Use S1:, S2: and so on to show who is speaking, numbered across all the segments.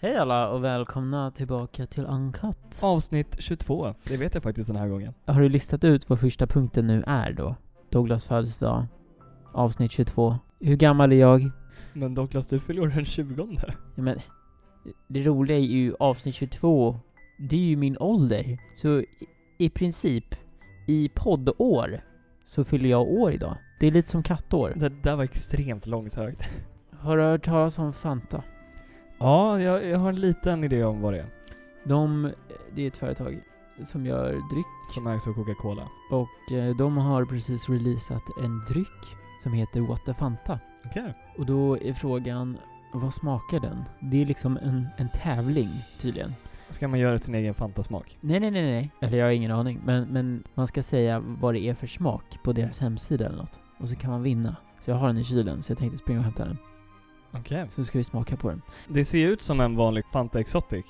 S1: Hej alla och välkomna tillbaka till Uncut.
S2: Avsnitt 22, det vet jag faktiskt den här gången.
S1: Har du listat ut vad första punkten nu är då? Douglas födelsedag. Avsnitt 22. Hur gammal är jag?
S2: Men Douglas, du fyller år den 20
S1: Ja, men, det roliga är ju avsnitt 22. Det är ju min ålder. Så i, i princip, i poddår, så fyller jag år idag. Det är lite som kattår.
S2: Det där var extremt långsökt.
S1: Har du hört talas om Fanta?
S2: Ja, jag, jag har en liten idé om vad det är.
S1: De, det är ett företag som gör dryck.
S2: Som ägs av Coca-Cola.
S1: Och eh, de har precis releasat en dryck som heter What the Fanta.
S2: Okej.
S1: Och då är frågan, vad smakar den? Det är liksom en, en tävling tydligen.
S2: Ska man göra sin egen Fanta-smak?
S1: Nej, nej, nej, nej. Eller jag har ingen aning. Men, men man ska säga vad det är för smak på deras hemsida eller något. Och så kan man vinna. Så jag har den i kylen, så jag tänkte springa och hämta den.
S2: Okej.
S1: Så ska vi smaka på den.
S2: Det ser ju ut som en vanlig Fanta Exotic.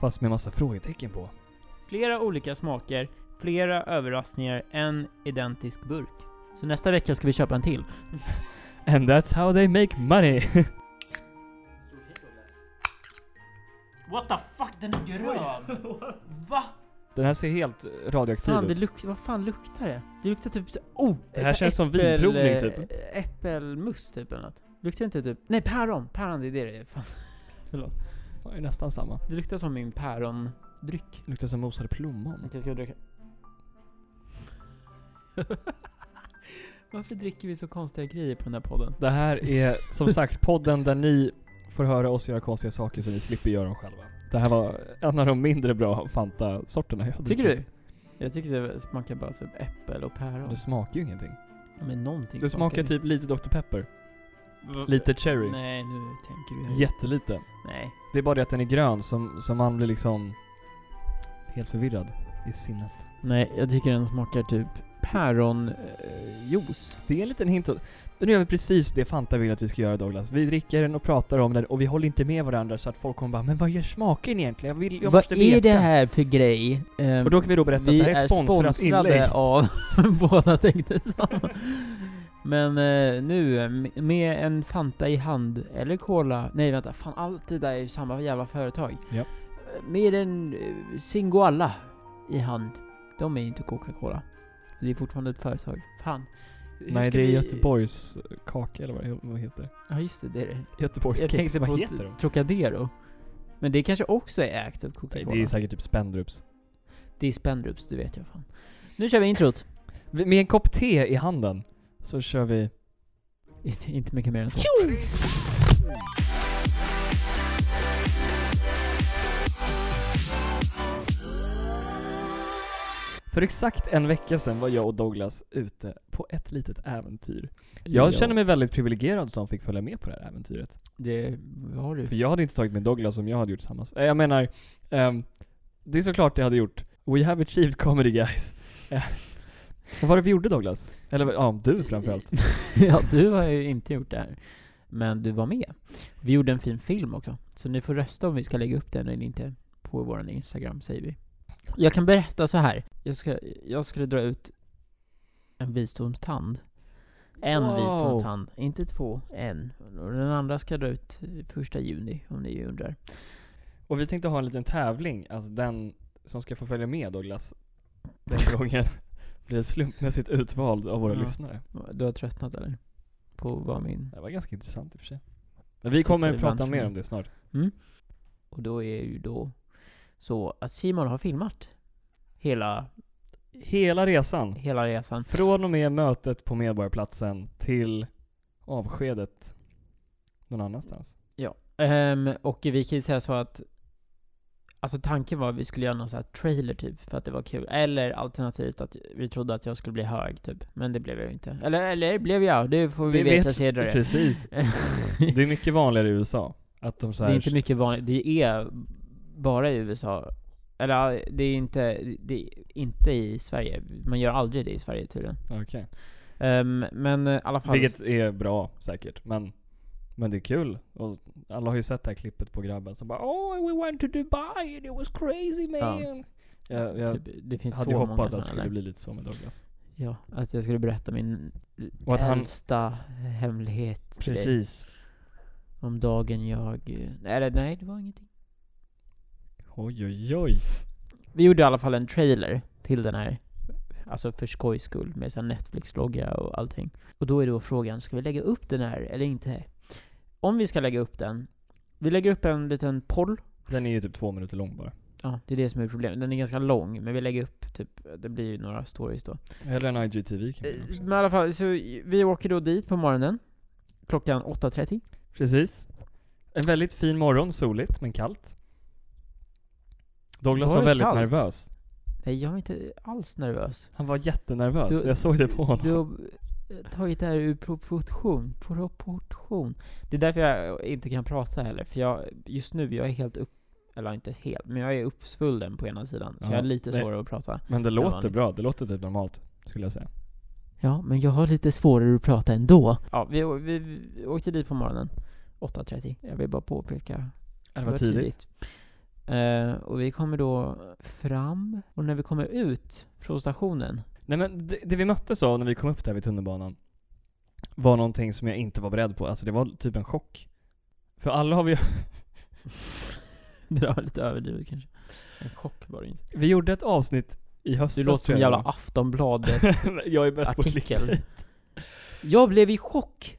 S2: Fast med massa frågetecken på.
S1: Flera olika smaker, flera överraskningar, en identisk burk. Så nästa vecka ska vi köpa en till.
S2: And that's how they make money.
S1: What the fuck, den är grön! Va?
S2: Den här ser helt radioaktiv
S1: Fan, det
S2: ut.
S1: luk- vad fan luktar det? Det luktar typ så- oh!
S2: Det här
S1: så
S2: känns som
S1: äppel-
S2: vinprovning, typ.
S1: eh, Äppelmust typ eller något. Luktar inte typ... Nej, päron! Päron, det är det det är. Fan. Förlåt.
S2: Det är nästan samma.
S1: Det luktar som min pärondryck.
S2: Luktar som mosade plommon.
S1: Jag ska dricka. Varför dricker vi så konstiga grejer på den här podden?
S2: Det här är som sagt podden där ni får höra oss göra konstiga saker så ni slipper göra dem själva. Det här var en av de mindre bra Fanta-sorterna jag
S1: Tycker
S2: druckit.
S1: du? Jag tycker det smakar bara typ äppel och päron.
S2: Det smakar ju ingenting.
S1: Men någonting
S2: Det smakar typ lite Dr. Pepper. Lite cherry.
S1: Nej, nu tänker du
S2: Jättelite.
S1: Nej.
S2: Det är bara det att den är grön som, som man blir liksom helt förvirrad i sinnet.
S1: Nej, jag tycker den smakar typ eh, päronjuice.
S2: Det är en liten hint åt- Nu gör vi precis det Fanta vill att vi ska göra Douglas. Vi dricker den och pratar om den och vi håller inte med varandra så att folk kommer bara 'Men vad gör smaken egentligen? Jag, vill, jag
S1: Vad
S2: måste
S1: är
S2: veta'
S1: det här för grej? Ehm,
S2: Och då kan vi då berätta
S1: vi
S2: att det här är ett sponsrat inlägg.
S1: av båda tänkte jag samma. Men eh, nu, eh, m- med en Fanta i hand, eller Cola, nej vänta, fan allt det där är ju samma jävla företag.
S2: Ja.
S1: Eh, Med en eh, Singoalla i hand. De är ju inte Coca-Cola. Det är fortfarande ett företag. Fan. Hur
S2: Nej,
S1: ska
S2: det är
S1: vi-
S2: Göteborgs kaka eller vad det vad det heter.
S1: Ja just det, det är det.
S2: Göteborgs
S1: Jag tänkte
S2: vad
S1: på
S2: heter
S1: t-
S2: de?
S1: Trocadero. Men det kanske också är ägt av
S2: Nej,
S1: Coca-Cola.
S2: det är säkert typ Spendrups.
S1: det är Spendrups, det vet jag fan. Nu kör vi introt.
S2: Vi- Med en kopp te i handen så kör vi...
S1: Inte- Inte mycket mer än så.
S2: För exakt en vecka sedan var jag och Douglas ute på ett litet äventyr. Jag känner mig väldigt privilegierad som fick följa med på det här äventyret.
S1: Det har du.
S2: För jag hade inte tagit med Douglas om jag hade gjort samma sak. Eh, Jag menar, ehm, det är såklart jag hade gjort. We have achieved comedy guys. Eh, Vad var det vi gjorde Douglas? Eller ja, du framförallt.
S1: ja, du har ju inte gjort det här. Men du var med. Vi gjorde en fin film också. Så ni får rösta om vi ska lägga upp den eller inte på vår Instagram, säger vi. Jag kan berätta så här. Jag, ska, jag skulle dra ut en visdomstand. En
S2: Wow.
S1: visdomstand, inte två. En. Och den andra ska jag dra ut eh, första juni, om ni undrar.
S2: Och vi tänkte ha en liten tävling, alltså den som ska få följa med Douglas den gången blir slumpmässigt utvald av våra
S1: Ja.
S2: lyssnare.
S1: Du har tröttnat eller? På vad min...
S2: Det var ganska intressant i och för sig. Men vi kommer
S1: Sitter
S2: att
S1: i
S2: prata
S1: branschen.
S2: mer om det snart.
S1: Mm. Och då är ju då så att Simon har filmat hela,
S2: Hela resan.
S1: hela resan.
S2: Från och med mötet på Medborgarplatsen till avskedet någon annanstans.
S1: Ehm, och vi kan ju säga så att Alltså tanken var att vi skulle göra någon sån här trailer typ, för att det var kul. Eller alternativt att vi trodde att jag skulle bli hög typ. Men det blev jag ju inte. Eller, eller blev jag? Det får vi
S2: Det
S1: veta
S2: vet-
S1: senare.
S2: Precis. Det är mycket vanligare i USA. Att de så
S1: det
S2: här
S1: är inte mycket vanligt. Det är bara i USA. Eller ja, det är inte, det är inte i Sverige. Man gör aldrig det i Sverige tydligen.
S2: Okej.
S1: Ehm, men eh, i alla fall.
S2: Vilket är bra säkert, men, men det är kul. Och alla har ju sett det här klippet på grabben som bara Oh we went to Dubai and it was crazy man. Jag, jag
S1: typ, det finns
S2: hade
S1: så
S2: ju
S1: många
S2: hoppats att
S1: såna
S2: det skulle
S1: där.
S2: bli lite så med Douglas.
S1: Ja, att jag skulle berätta min
S2: Och att han-
S1: äldsta hemlighet till dig.
S2: Precis.
S1: Om dagen jag... eh, Nej, det- nej, det var ingenting.
S2: Oj, oj, oj.
S1: Vi gjorde i alla fall en trailer till den här, alltså för skojs skull, med sån Netflix-logga och allting. Och då är då frågan, ska vi lägga upp den här eller inte? Om vi ska lägga upp den, vi lägger upp en liten poll.
S2: Den är ju typ två minuter lång bara.
S1: Ja, det är det som är problemet. Den är ganska lång, men vi lägger upp typ, det blir ju några stories då.
S2: Eller en IGTV kan man
S1: Eh,
S2: också.
S1: Men i alla fall, så vi åker då dit på morgonen. Klockan 8.30.
S2: Precis. En väldigt fin morgon, soligt men kallt. Douglas
S1: Var
S2: var,
S1: det
S2: väldigt
S1: kallt?
S2: nervös.
S1: Nej, jag är inte alls nervös.
S2: Han var jättenervös,
S1: Du-
S2: jag såg det på honom.
S1: Du har eh, tagit det här ur proportion. Proportion. Det är därför jag inte kan prata heller. För jag, just nu, jag är helt upp... Eller inte helt, men jag är uppsvullen på ena sidan. Så
S2: Ja,
S1: jag är lite
S2: nej.
S1: svårare att prata.
S2: men det låter
S1: vanligt.
S2: bra, det låter typ normalt, skulle jag säga.
S1: Ja, men jag har lite svårare att prata ändå. Ja, vi, å- vi, vi åkte dit på morgonen. 8.30. Jag vill bara påpeka.
S2: Det var tidigt.
S1: Eh, och vi kommer då fram, och när vi kommer ut från stationen
S2: Nej men det, det vi möttes av när vi kom upp där vid tunnelbanan var någonting som jag inte var beredd på. Alltså det var typ en chock. För alla har vi
S1: Det där var lite överdrivet kanske. En chock var det inte.
S2: Vi gjorde ett avsnitt i
S1: Du
S2: höstas
S1: låter som
S2: tror
S1: en
S2: jag
S1: jävla Aftonbladet
S2: det var. Jag är bäst på klick.
S1: artikel. Jag blev i chock!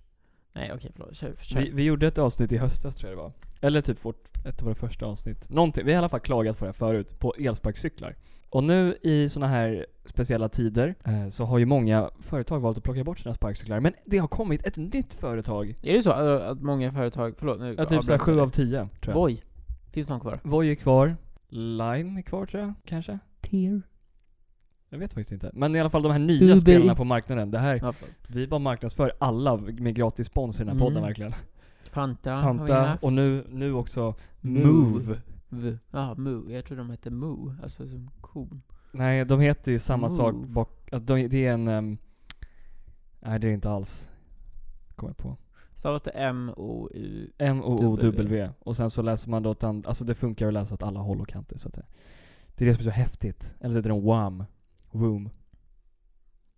S1: Nej okej förlåt, kör, kör.
S2: Vi, vi gjorde ett avsnitt i höstas tror jag det var. Eller typ vårt, ett av våra första avsnitt. Någonting. Vi har i alla fall klagat på det här förut, på elsparkcyklar. Och nu i såna här speciella tider eh, så har ju många företag valt att plocka bort sina sparkcyklar. Men det har kommit ett nytt företag.
S1: Är det så att, att många företag, förlåt nu
S2: Ja, typ såhär 7 av 10 tror jag.
S1: Voi. Finns någon kvar?
S2: Voi är kvar. Lime är kvar tror jag, kanske?
S1: Tear.
S2: Jag vet faktiskt inte. Men i alla fall de här nya
S1: Uber.
S2: spelarna på marknaden. Det här,
S1: Ja, förlåt.
S2: vi bara marknadsför alla med gratis spons i den här
S1: Mm.
S2: podden verkligen.
S1: Fanta, har vi
S2: Fanta
S1: haft.
S2: och nu, nu också
S1: Move.
S2: Move.
S1: V- Ja, Moo. Jag tror de hette Moo, alltså som kon.
S2: Nej, de heter ju samma sak
S1: Move.
S2: bak... Alltså, de, det är en... ehm, nej, det är det inte alls. Kommer jag på.
S1: Stavas det M-O-U?
S2: M-O-O-W. Och sen så läser man då åt and- Alltså det funkar att läsa åt alla håll och kanter så att säga. Det är det som är så häftigt. Eller så heter den WAM. Woom.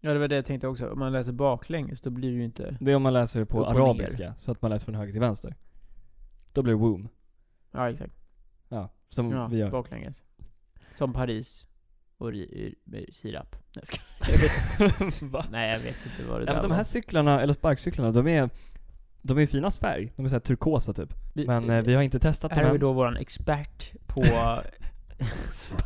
S1: Ja det var det jag tänkte också. Om man läser baklänges då blir det ju inte...
S2: Det är om man läser det på
S1: Upp och ner.
S2: arabiska. Så att man läser från höger till vänster. Då blir det Woom.
S1: Ja exakt.
S2: Ja, som
S1: Ja,
S2: vi gör.
S1: baklänges. Som Paris och ri- ur- ur- sirap. Nej, jag skojar. Jag vet inte.
S2: Va?
S1: Nej, jag vet inte vad det där
S2: Ja, men de här
S1: var.
S2: cyklarna, eller sparkcyklarna, de är... De är i finast färg. De är såhär turkosa typ.
S1: Vi,
S2: Men eh, vi har inte testat
S1: här
S2: dem
S1: har vi
S2: än.
S1: då våran expert på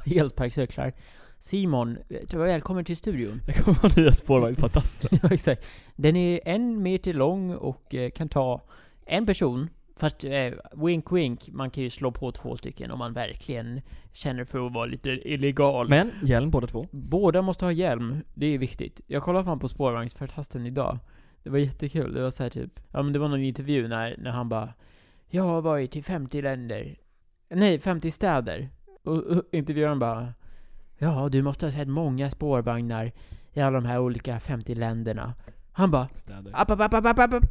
S1: elsparkcyklar. Simon, eh, du var välkommen till studion.
S2: Det kommer vara nya spårvagnfantaster.
S1: Ja, exakt. Den är en meter lång och eh, kan ta en person. Fast eh, wink wink, man kan ju slå på två stycken om man verkligen känner för att vara lite illegal.
S2: Men hjälm båda två.
S1: Båda måste ha hjälm, det är viktigt. Jag kollade fram på spårvagnsförtasten idag. Det var jättekul, det var så här typ, ja men det var någon intervju när, när han bara Jag har varit i 50 länder, nej 50 städer. Och, och intervjuaren bara Ja, du måste ha sett många spårvagnar i alla de här olika 50 länderna. Han bara
S2: Städer.
S1: app, app, app, app, app, app.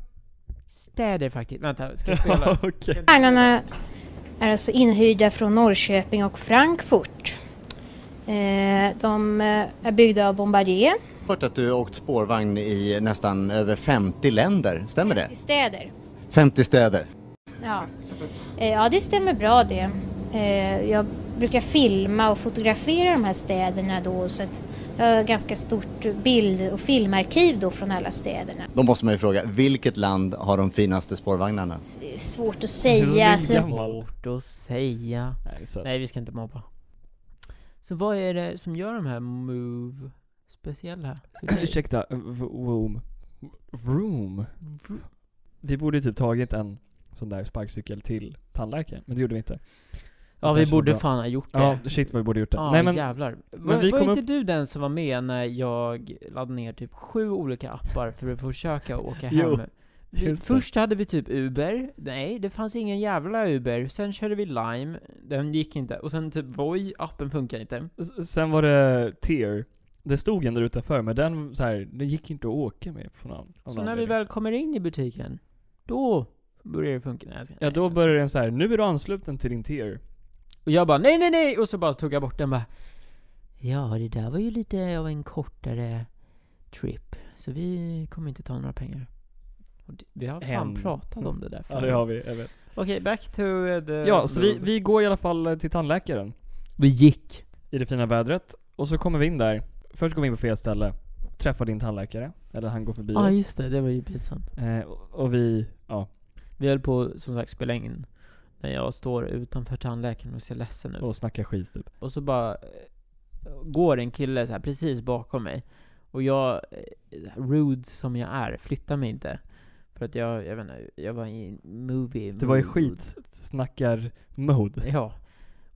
S1: Städer faktiskt. Vänta, ska jag spela?
S2: Okej.
S3: Vagnarna är alltså inhyrda från Norrköping och Frankfurt. Eh, De eh, är byggda av Bombardier
S4: hört att du har åkt spårvagn i nästan över 50 länder, stämmer det?
S3: i städer.
S4: 50 städer.
S3: Ja, Eh, ja det stämmer bra det. Eh, Jag brukar filma och fotografera de här städerna då så att jag har ett ganska stort bild och filmarkiv då från alla städerna.
S4: Då måste man ju fråga, vilket land har de finaste spårvagnarna?
S3: Det är svårt att
S2: Det
S3: säga.
S2: är
S3: Alltså,
S2: gammal.
S1: Svårt att säga.
S2: Nej, så att-
S1: Nej, vi ska inte mobba. Så vad är det som gör de här Move speciella? för dig?
S2: Ursäkta, v- vroom. Vroom. Vi borde ju typ tagit en sån där sparkcykel till tandläkaren, men det gjorde vi inte.
S1: ja, vi
S2: kanske var
S1: borde
S2: bra.
S1: fan ha gjort det.
S2: Ja, shit vad vi borde gjort det.
S1: Ja,
S2: Nej men,
S1: jävlar. var,
S2: vi
S1: var
S2: kom
S1: inte du den som var med när jag laddade ner typ sju olika appar för att försöka åka
S2: Jo,
S1: hem? Vi,
S2: just det.
S1: först hade vi typ Uber, nej det fanns ingen jävla Uber. Sen körde vi Lime, den gick inte. Och sen typ Voi, appen funkar inte.
S2: s- sen var det Tear. Det stod en där utanför, men den så här, det gick inte att åka med på någon av
S1: Så när
S2: någon
S1: vi
S2: anledning.
S1: väl kommer in i butiken, då börjar det funka. Nej, jag ska-
S2: Ja,
S1: nej,
S2: då
S1: jag-
S2: började den så här, nu är du ansluten till din Tear.
S1: Och jag bara nej, nej, nej! Och så bara tog jag bort den bara. Ja, det där var ju lite av en kortare trip. Så vi kommer inte ta några pengar. Och det- Vi har fan
S2: En.
S1: pratat om det där
S2: Ja, det har vi, jag vet.
S1: Okej, back to eh, the...
S2: Ja, så vi, vi går i alla fall eh, till tandläkaren.
S1: Vi gick.
S2: i det fina vädret. Och så kommer vi in där. Först går vi in på fel ställe. Träffar din tandläkare. Eller han går förbi
S1: Ja ah,
S2: oss.
S1: just det, det var ju pinsamt.
S2: Eh, och- och vi, ja.
S1: Vi höll på som sagt spela in när jag står utanför tandläkaren och ser ledsen ut.
S2: Och snackar skit typ.
S1: Och så bara eh, går en kille så här precis bakom mig. Och jag, eh, rude som jag är, flyttar mig inte. För att jag, jag vet inte, jag var i movie
S2: Det var ju
S1: mood.
S2: skitsnackar mode
S1: Ja.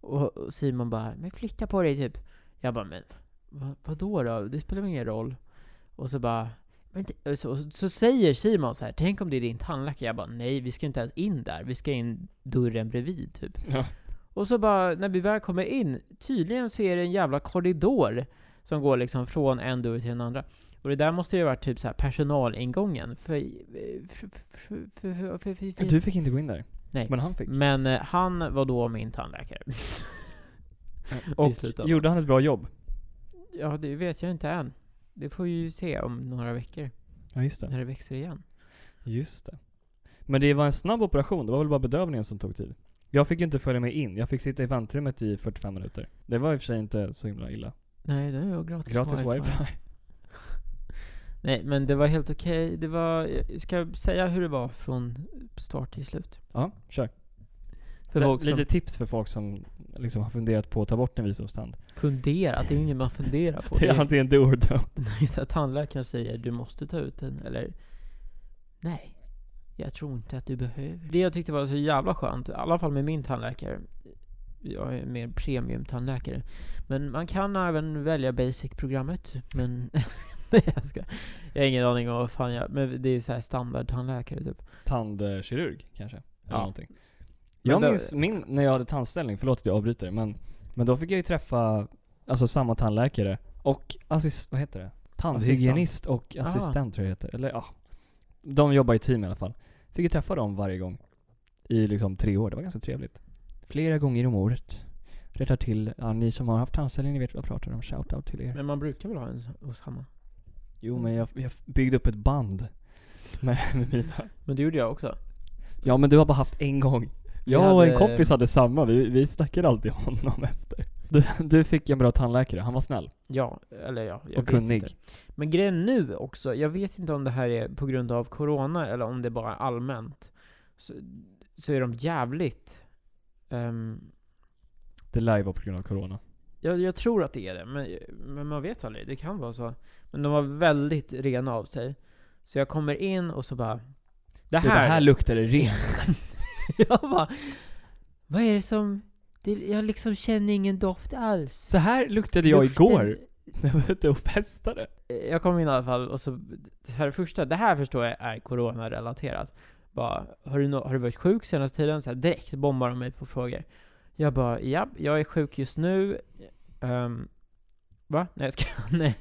S1: Och, och Simon bara 'Men flytta på dig' typ. Jag bara 'Men vad, vadå då? Det spelar väl ingen roll?' Och så bara men, t- så, så, så säger Simon så här, 'Tänk om det är din tandläkare?' Jag bara 'Nej, vi ska inte ens in där. Vi ska in dörren bredvid' typ.
S2: Ja.
S1: Och så bara, när vi väl kommer in, tydligen så är det en jävla korridor som går liksom från en dörr till den andra. Och det där måste ju ha varit typ så här personalingången. För, för, för, för, för, för, för,
S2: Du fick inte gå in där.
S1: Nej.
S2: Men han fick.
S1: Men eh, han var då min tandläkare.
S2: Och
S1: slutändan.
S2: gjorde han ett bra jobb?
S1: Ja, det vet jag inte än. Det får vi ju se om några veckor,
S2: Ja just det.
S1: när det växer igen.
S2: Just det. Men det var en snabb operation. Det var väl bara bedövningen som tog tid. Jag fick ju inte följa med in. Jag fick sitta i väntrummet i 45 minuter. Det var i och för sig inte så himla illa.
S1: Nej, det är ju gratis,
S2: Gratis wifi.
S1: Nej, men det var helt okej. Det var... Jag ska säga hur det var från start till slut.
S2: Ja, kör.
S1: För
S2: Det-
S1: folk som
S2: Lite tips för folk som liksom har funderat på att ta bort en visdomstand.
S1: funderar. Det är inget man funderar på.
S2: Det är antingen do or don't.
S1: Det är så att tandläkaren säger du måste ta ut den, eller nej. Jag tror inte att du behöver. Det jag tyckte var så jävla skönt, i alla fall med min tandläkare. Jag är mer premiumtandläkare. Men man kan även välja basic-programmet. Men nej, jag ska. Jag har ingen aning om vad fan jag... Men det är så här standardtandläkare typ.
S2: Tandkirurg kanske? Eller
S1: Ja.
S2: någonting.
S1: Men
S2: Jag
S1: då-
S2: minns min, när jag hade tandställning, förlåt att jag avbryter, men, men då fick jag ju träffa alltså samma tandläkare och assist, vad heter det? Tandhygienist och assistent tror jag det heter. Eller ja. De jobbar i team i alla fall. Fick ju träffa dem varje gång. I liksom tre år. Det var ganska trevligt. Flera gånger om året. Rättar till, ja, ni som har haft tandställning ni vet vad jag pratar om. Shoutout till er.
S1: Men man brukar väl ha en så- hos samma?
S2: Jo men jag, jag byggde upp ett band. Med, med mina.
S1: Men det gjorde jag också.
S2: Ja men du har bara haft en gång.
S1: Vi
S2: Jag och en
S1: hade-
S2: kompis hade samma, vi, vi snackade alltid om honom efter. Du, du fick en bra tandläkare, han var snäll.
S1: Ja, eller ja. Jag
S2: Och
S1: vet
S2: kunnig.
S1: Inte. Men grejen nu också, jag vet inte om det här är på grund av corona eller om det bara är allmänt. Så, så är de jävligt... ehm,
S2: Det lär ju vara på grund av corona.
S1: jag, jag tror att det är det, men, men man vet aldrig. Det kan vara så. Men de var väldigt rena av sig. Så jag kommer in och så bara... Det
S2: Det här,
S1: här...
S2: luktar det rent.
S1: jag bara... Vad är det som... Det, jag liksom känner ingen doft alls.
S2: Så här luktade jag
S1: Lukten-
S2: igår när jag var ute och festade.
S1: jag kom in i alla fall och så, det här första, det här förstår jag är coronarelaterat. Bara, har du, nå- har du varit sjuk senaste tiden? Så här, direkt bombar de mig på frågor. Jag bara, ja, jag är sjuk just nu. Ehm, va? Nej, jag ska, nej.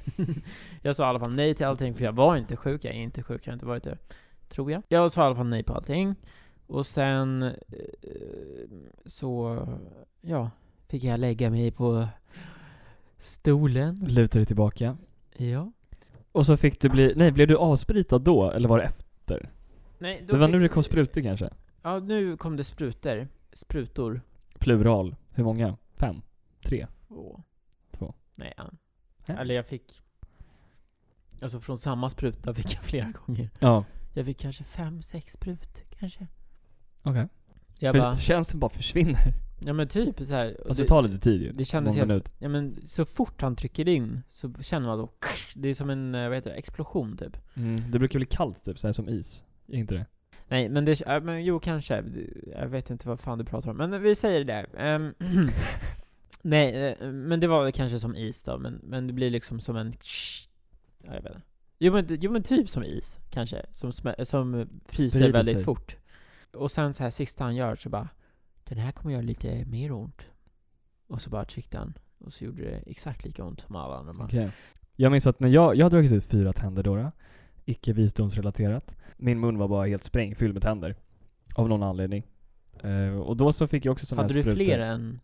S1: Jag sa i alla fall nej till allting, för jag var inte sjuk. Jag är inte sjuk, jag har inte varit det. Tror jag. Jag sa i alla fall nej på allting. Och sen eh, så, ja, fick jag lägga mig på stolen.
S2: Lutade dig tillbaka.
S1: Ja.
S2: Och så fick du bli, nej blev du avspritad då? Eller var det efter?
S1: Nej, då
S2: Det var
S1: fick-
S2: nu det kom sprutor kanske?
S1: Ja, nu kom det sprutor. Sprutor.
S2: Plural. Hur många? Fem? Tre?
S1: Två.
S2: Två.
S1: Nej, en.
S2: Ja.
S1: Eller jag fick... Alltså från samma spruta fick jag flera gånger.
S2: Ja.
S1: Jag fick kanske fem, sex sprut, kanske.
S2: Okej.
S1: Jag
S2: Okay.
S1: bara,
S2: Känns det bara försvinner.
S1: ja men typ så här. och
S2: Fast det
S1: det-
S2: tar lite tid ju.
S1: det kändes
S2: Någon
S1: helt-
S2: minut.
S1: Ja men så fort han trycker in så känner man då, det är som en, eh, vad heter det, explosion typ.
S2: Det brukar bli kallt typ, så här som is. Är inte det?
S1: Nej men det, ja, men jo kanske. Jag vet inte vad fan du pratar om. Men vi säger det. Ehm, nej, eh, men det var väl kanske som is då. Men, men det blir liksom som en... Ja, jag vet inte. Jo men, jo men typ som is kanske. Som, smä- som fryser
S2: Sprider
S1: väldigt
S2: sig.
S1: fort. Och sen så här sista han gör så bara Den här kommer göra lite mer ont. Och så bara tryckte han. Och så gjorde det exakt lika ont som alla andra. Okay.
S2: Okej. Jag minns att när jag, jag har dragit ut fyra tänder då, icke visdomsrelaterat. Min mun var bara helt sprängfylld med tänder. Av någon anledning. Eh, och då så fick jag också sådana
S1: Hade
S2: här
S1: du
S2: sprutor.
S1: fler än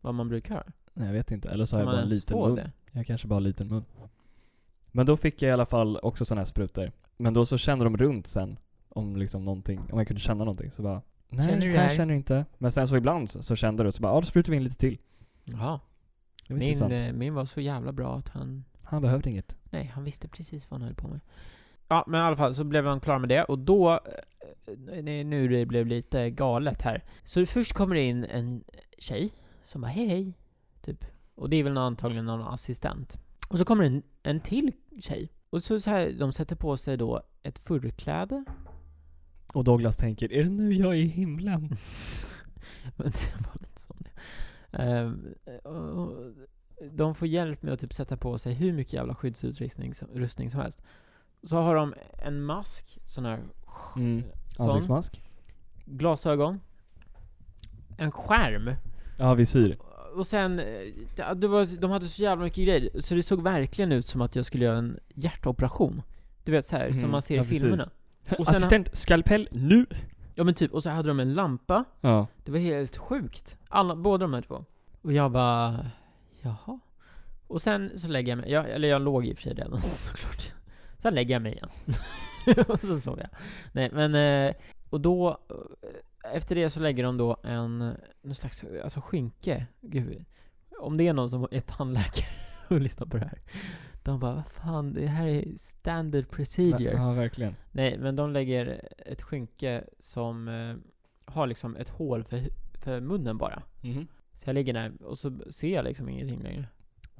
S1: vad man brukar? ha?
S2: Nej jag vet inte, eller så har
S1: Kan
S2: jag
S1: man
S2: bara en
S1: ens
S2: liten
S1: få
S2: mun.
S1: det?
S2: Jag kanske bara har en liten mun. Men då fick jag i alla fall också sådana här sprutor. Men då så kände de runt sen om liksom någonting, om jag kunde känna någonting. Så bara, nej
S1: Känner du det
S2: här
S1: här?
S2: känner jag inte. Men sen så ibland så, så kände du och så bara, ja då sprutar vi in lite till.
S1: Jaha.
S2: Det var
S1: Min,
S2: intressant.
S1: eh, min var så jävla bra att han...
S2: Han behövde inget.
S1: Nej, han visste precis vad han höll på med. Ja, men i alla fall så blev han klar med det och då... eh, nej, Nu det blev lite galet här. Så först kommer det in en tjej som bara hej hej, typ. Och det är väl någon- antagligen någon assistent. Och så kommer det en, en till tjej. Och så, så här, de sätter på sig då ett förkläde.
S2: Och Douglas tänker, är det nu jag är i himlen?
S1: Men det var lite som det. Ehm, och- och de får hjälp med att typ sätta på sig hur mycket jävla skyddsutrustning som, rustning som helst. Så har de en mask, sån här
S2: Mm.
S1: Sån.
S2: Ansiktsmask?
S1: glasögon, en skärm
S2: Ja, visir.
S1: och sen, eh, det- det var, de hade så jävla mycket grejer så det såg verkligen ut som att jag skulle göra en hjärtoperation. Du vet så här, som
S2: Mhm,
S1: man ser
S2: ja,
S1: i
S2: precis.
S1: filmerna. Och sen-
S2: Assistent, skalpell, nu!
S1: Ja men typ, och så hade de en lampa
S2: Ja.
S1: Det var helt sjukt. Alla, båda de här två. Och jag bara, jaha. Och sen så lägger jag mig, jag, eller jag låg i och för sig redan såklart. Sen lägger jag mig igen. och så sov jag. Nej men, eh, och då, eh, efter det så lägger de då en, någon slags, alltså skynke. Gud, om det är någon som är tandläkare och lyssnar på det här. De bara, vad fan, det här är standard procedure.
S2: Ja, verkligen.
S1: Nej, men de lägger ett skynke som eh, har liksom ett hål för, hu- för munnen bara.
S2: Mhm.
S1: Så jag ligger där och så ser jag liksom ingenting längre.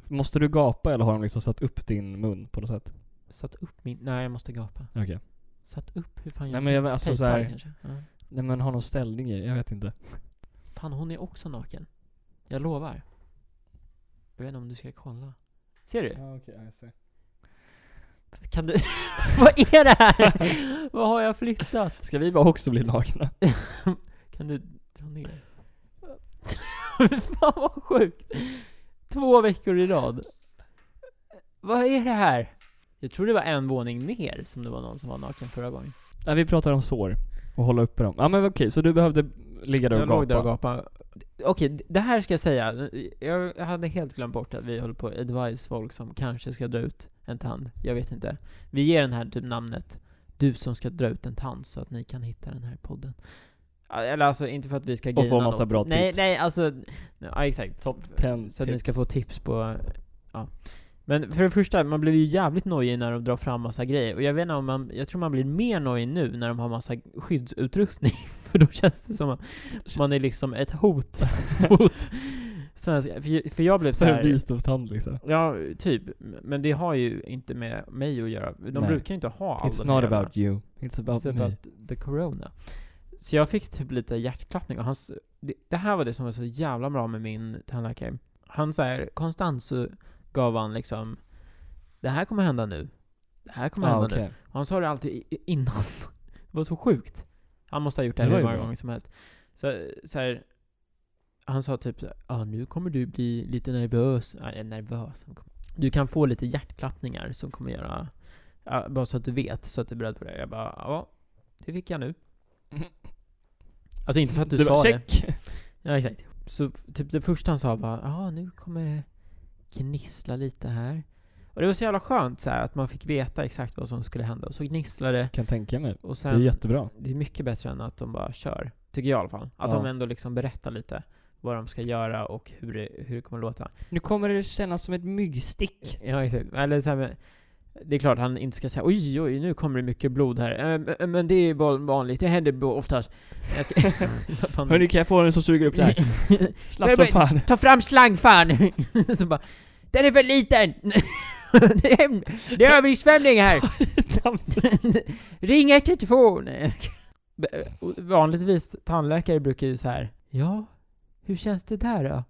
S2: Måste du gapa eller har de liksom satt upp din mun på något sätt?
S1: Satt upp min... Nej, jag måste gapa.
S2: Okej.
S1: Satt upp? Hur fan
S2: Nej, men jag-
S1: det?
S2: alltså
S1: Tejpar
S2: så här-
S1: kanske? Ja.
S2: Nej men har någon ställning i det? Jag vet inte.
S1: Fan, hon är också naken. Jag lovar. Jag vet inte om du ska kolla. Ser du?
S2: Ja, okej, jag ser.
S1: Kan du... Vad är det här? Vad har jag flyttat?
S2: Ska vi bara också bli nakna?
S1: Kan du dra ner? Fan vad sjukt! Två veckor i rad. Vad är det här? Jag tror det var en våning ner som det var någon som var naken förra gången.
S2: Nej, vi pratar om sår. Och hålla uppe dem. Ja men okej, så du behövde ligga där och
S1: jag
S2: gapa?
S1: låg där och gapade. Okej, d- det här ska jag säga. Jag hade helt glömt bort att vi håller på att advise folk som kanske ska dra ut en tand. Jag vet inte. Vi ger den här typ namnet Du som ska dra ut en tand så att ni kan hitta den här podden. Eller alltså inte för att vi ska
S2: få
S1: gaina
S2: massa
S1: något.
S2: bra
S1: nej,
S2: tips.
S1: Nej, alltså... Ja, exakt.
S2: Topp 10
S1: Så att ni ska få tips på... Ja. Men för det första, man blir ju jävligt nojig när de drar fram massa grejer. Och jag vet inte om man... Jag tror man blir mer nojig nu när de har massa skyddsutrustning. För då känns det som att man är liksom ett hot mot svenska. För, för jag blev så
S2: Så en
S1: här.
S2: visdomstand liksom.
S1: Ja, typ. Men det har ju inte med mig att göra. De
S2: Nej.
S1: brukar ju inte ha all
S2: It's
S1: den här
S2: not
S1: jävla-
S2: about you. It's about
S1: It's
S2: me.
S1: about Typ the corona. Så jag fick typ lite hjärtklappning och hans, det, det här var det som var så jävla bra med min tandläkare. Han så här, konstant så gav han liksom Det här kommer hända nu. Det här kommer
S2: ah,
S1: hända nu.
S2: okej.
S1: Och han sa det alltid i- i- innan. Det var så sjukt. Han måste ha gjort det
S2: Det
S1: här hur
S2: var ju
S1: många
S2: bra.
S1: gånger som helst. Så, så här, han sa typ ja ah, nu kommer du bli lite nervös. Ah, jag är nervös. Han kom- Du kan få lite hjärtklappningar som kommer göra, ja, bara så att du vet, så att du är beredd på det. Jag bara, ja, det fick jag nu.
S2: Mhm.
S1: Alltså inte för att du,
S2: Du
S1: sa
S2: bara,
S1: det.
S2: check!
S1: Ja, exakt. Så f- typ det första han sa var ja nu kommer det gnissla lite här. Och det var så jävla skönt så här, att man fick veta exakt vad som skulle hända. Och så gnisslade det
S2: Kan tänka mig.
S1: och
S2: Det
S1: sen,
S2: är jättebra.
S1: det är mycket bättre än att de bara kör. Tycker jag i alla fall. Att
S2: Ja.
S1: de ändå liksom berättar lite vad de ska göra och hur det, hur det kommer att låta.
S2: Nu kommer det kännas som ett myggstick.
S1: Ja, exakt. Eller så här med, det är klart han inte ska säga oj, oj, nu kommer det mycket blod här. Eh, men- Men det är van- vanligt, det händer bo- oftast. Jag ska, Så att man-
S2: Mm. Hörni, kan jag få den som suger upp det här? Slapp som
S1: Men-
S2: fan.
S1: Ta fram slangfan! så bara, den är för liten! det, är, det är översvämning här! Ring 112! Nej, jag ska- B- och Vanligtvis, tandläkare brukar ju så här. Ja, hur känns det där då?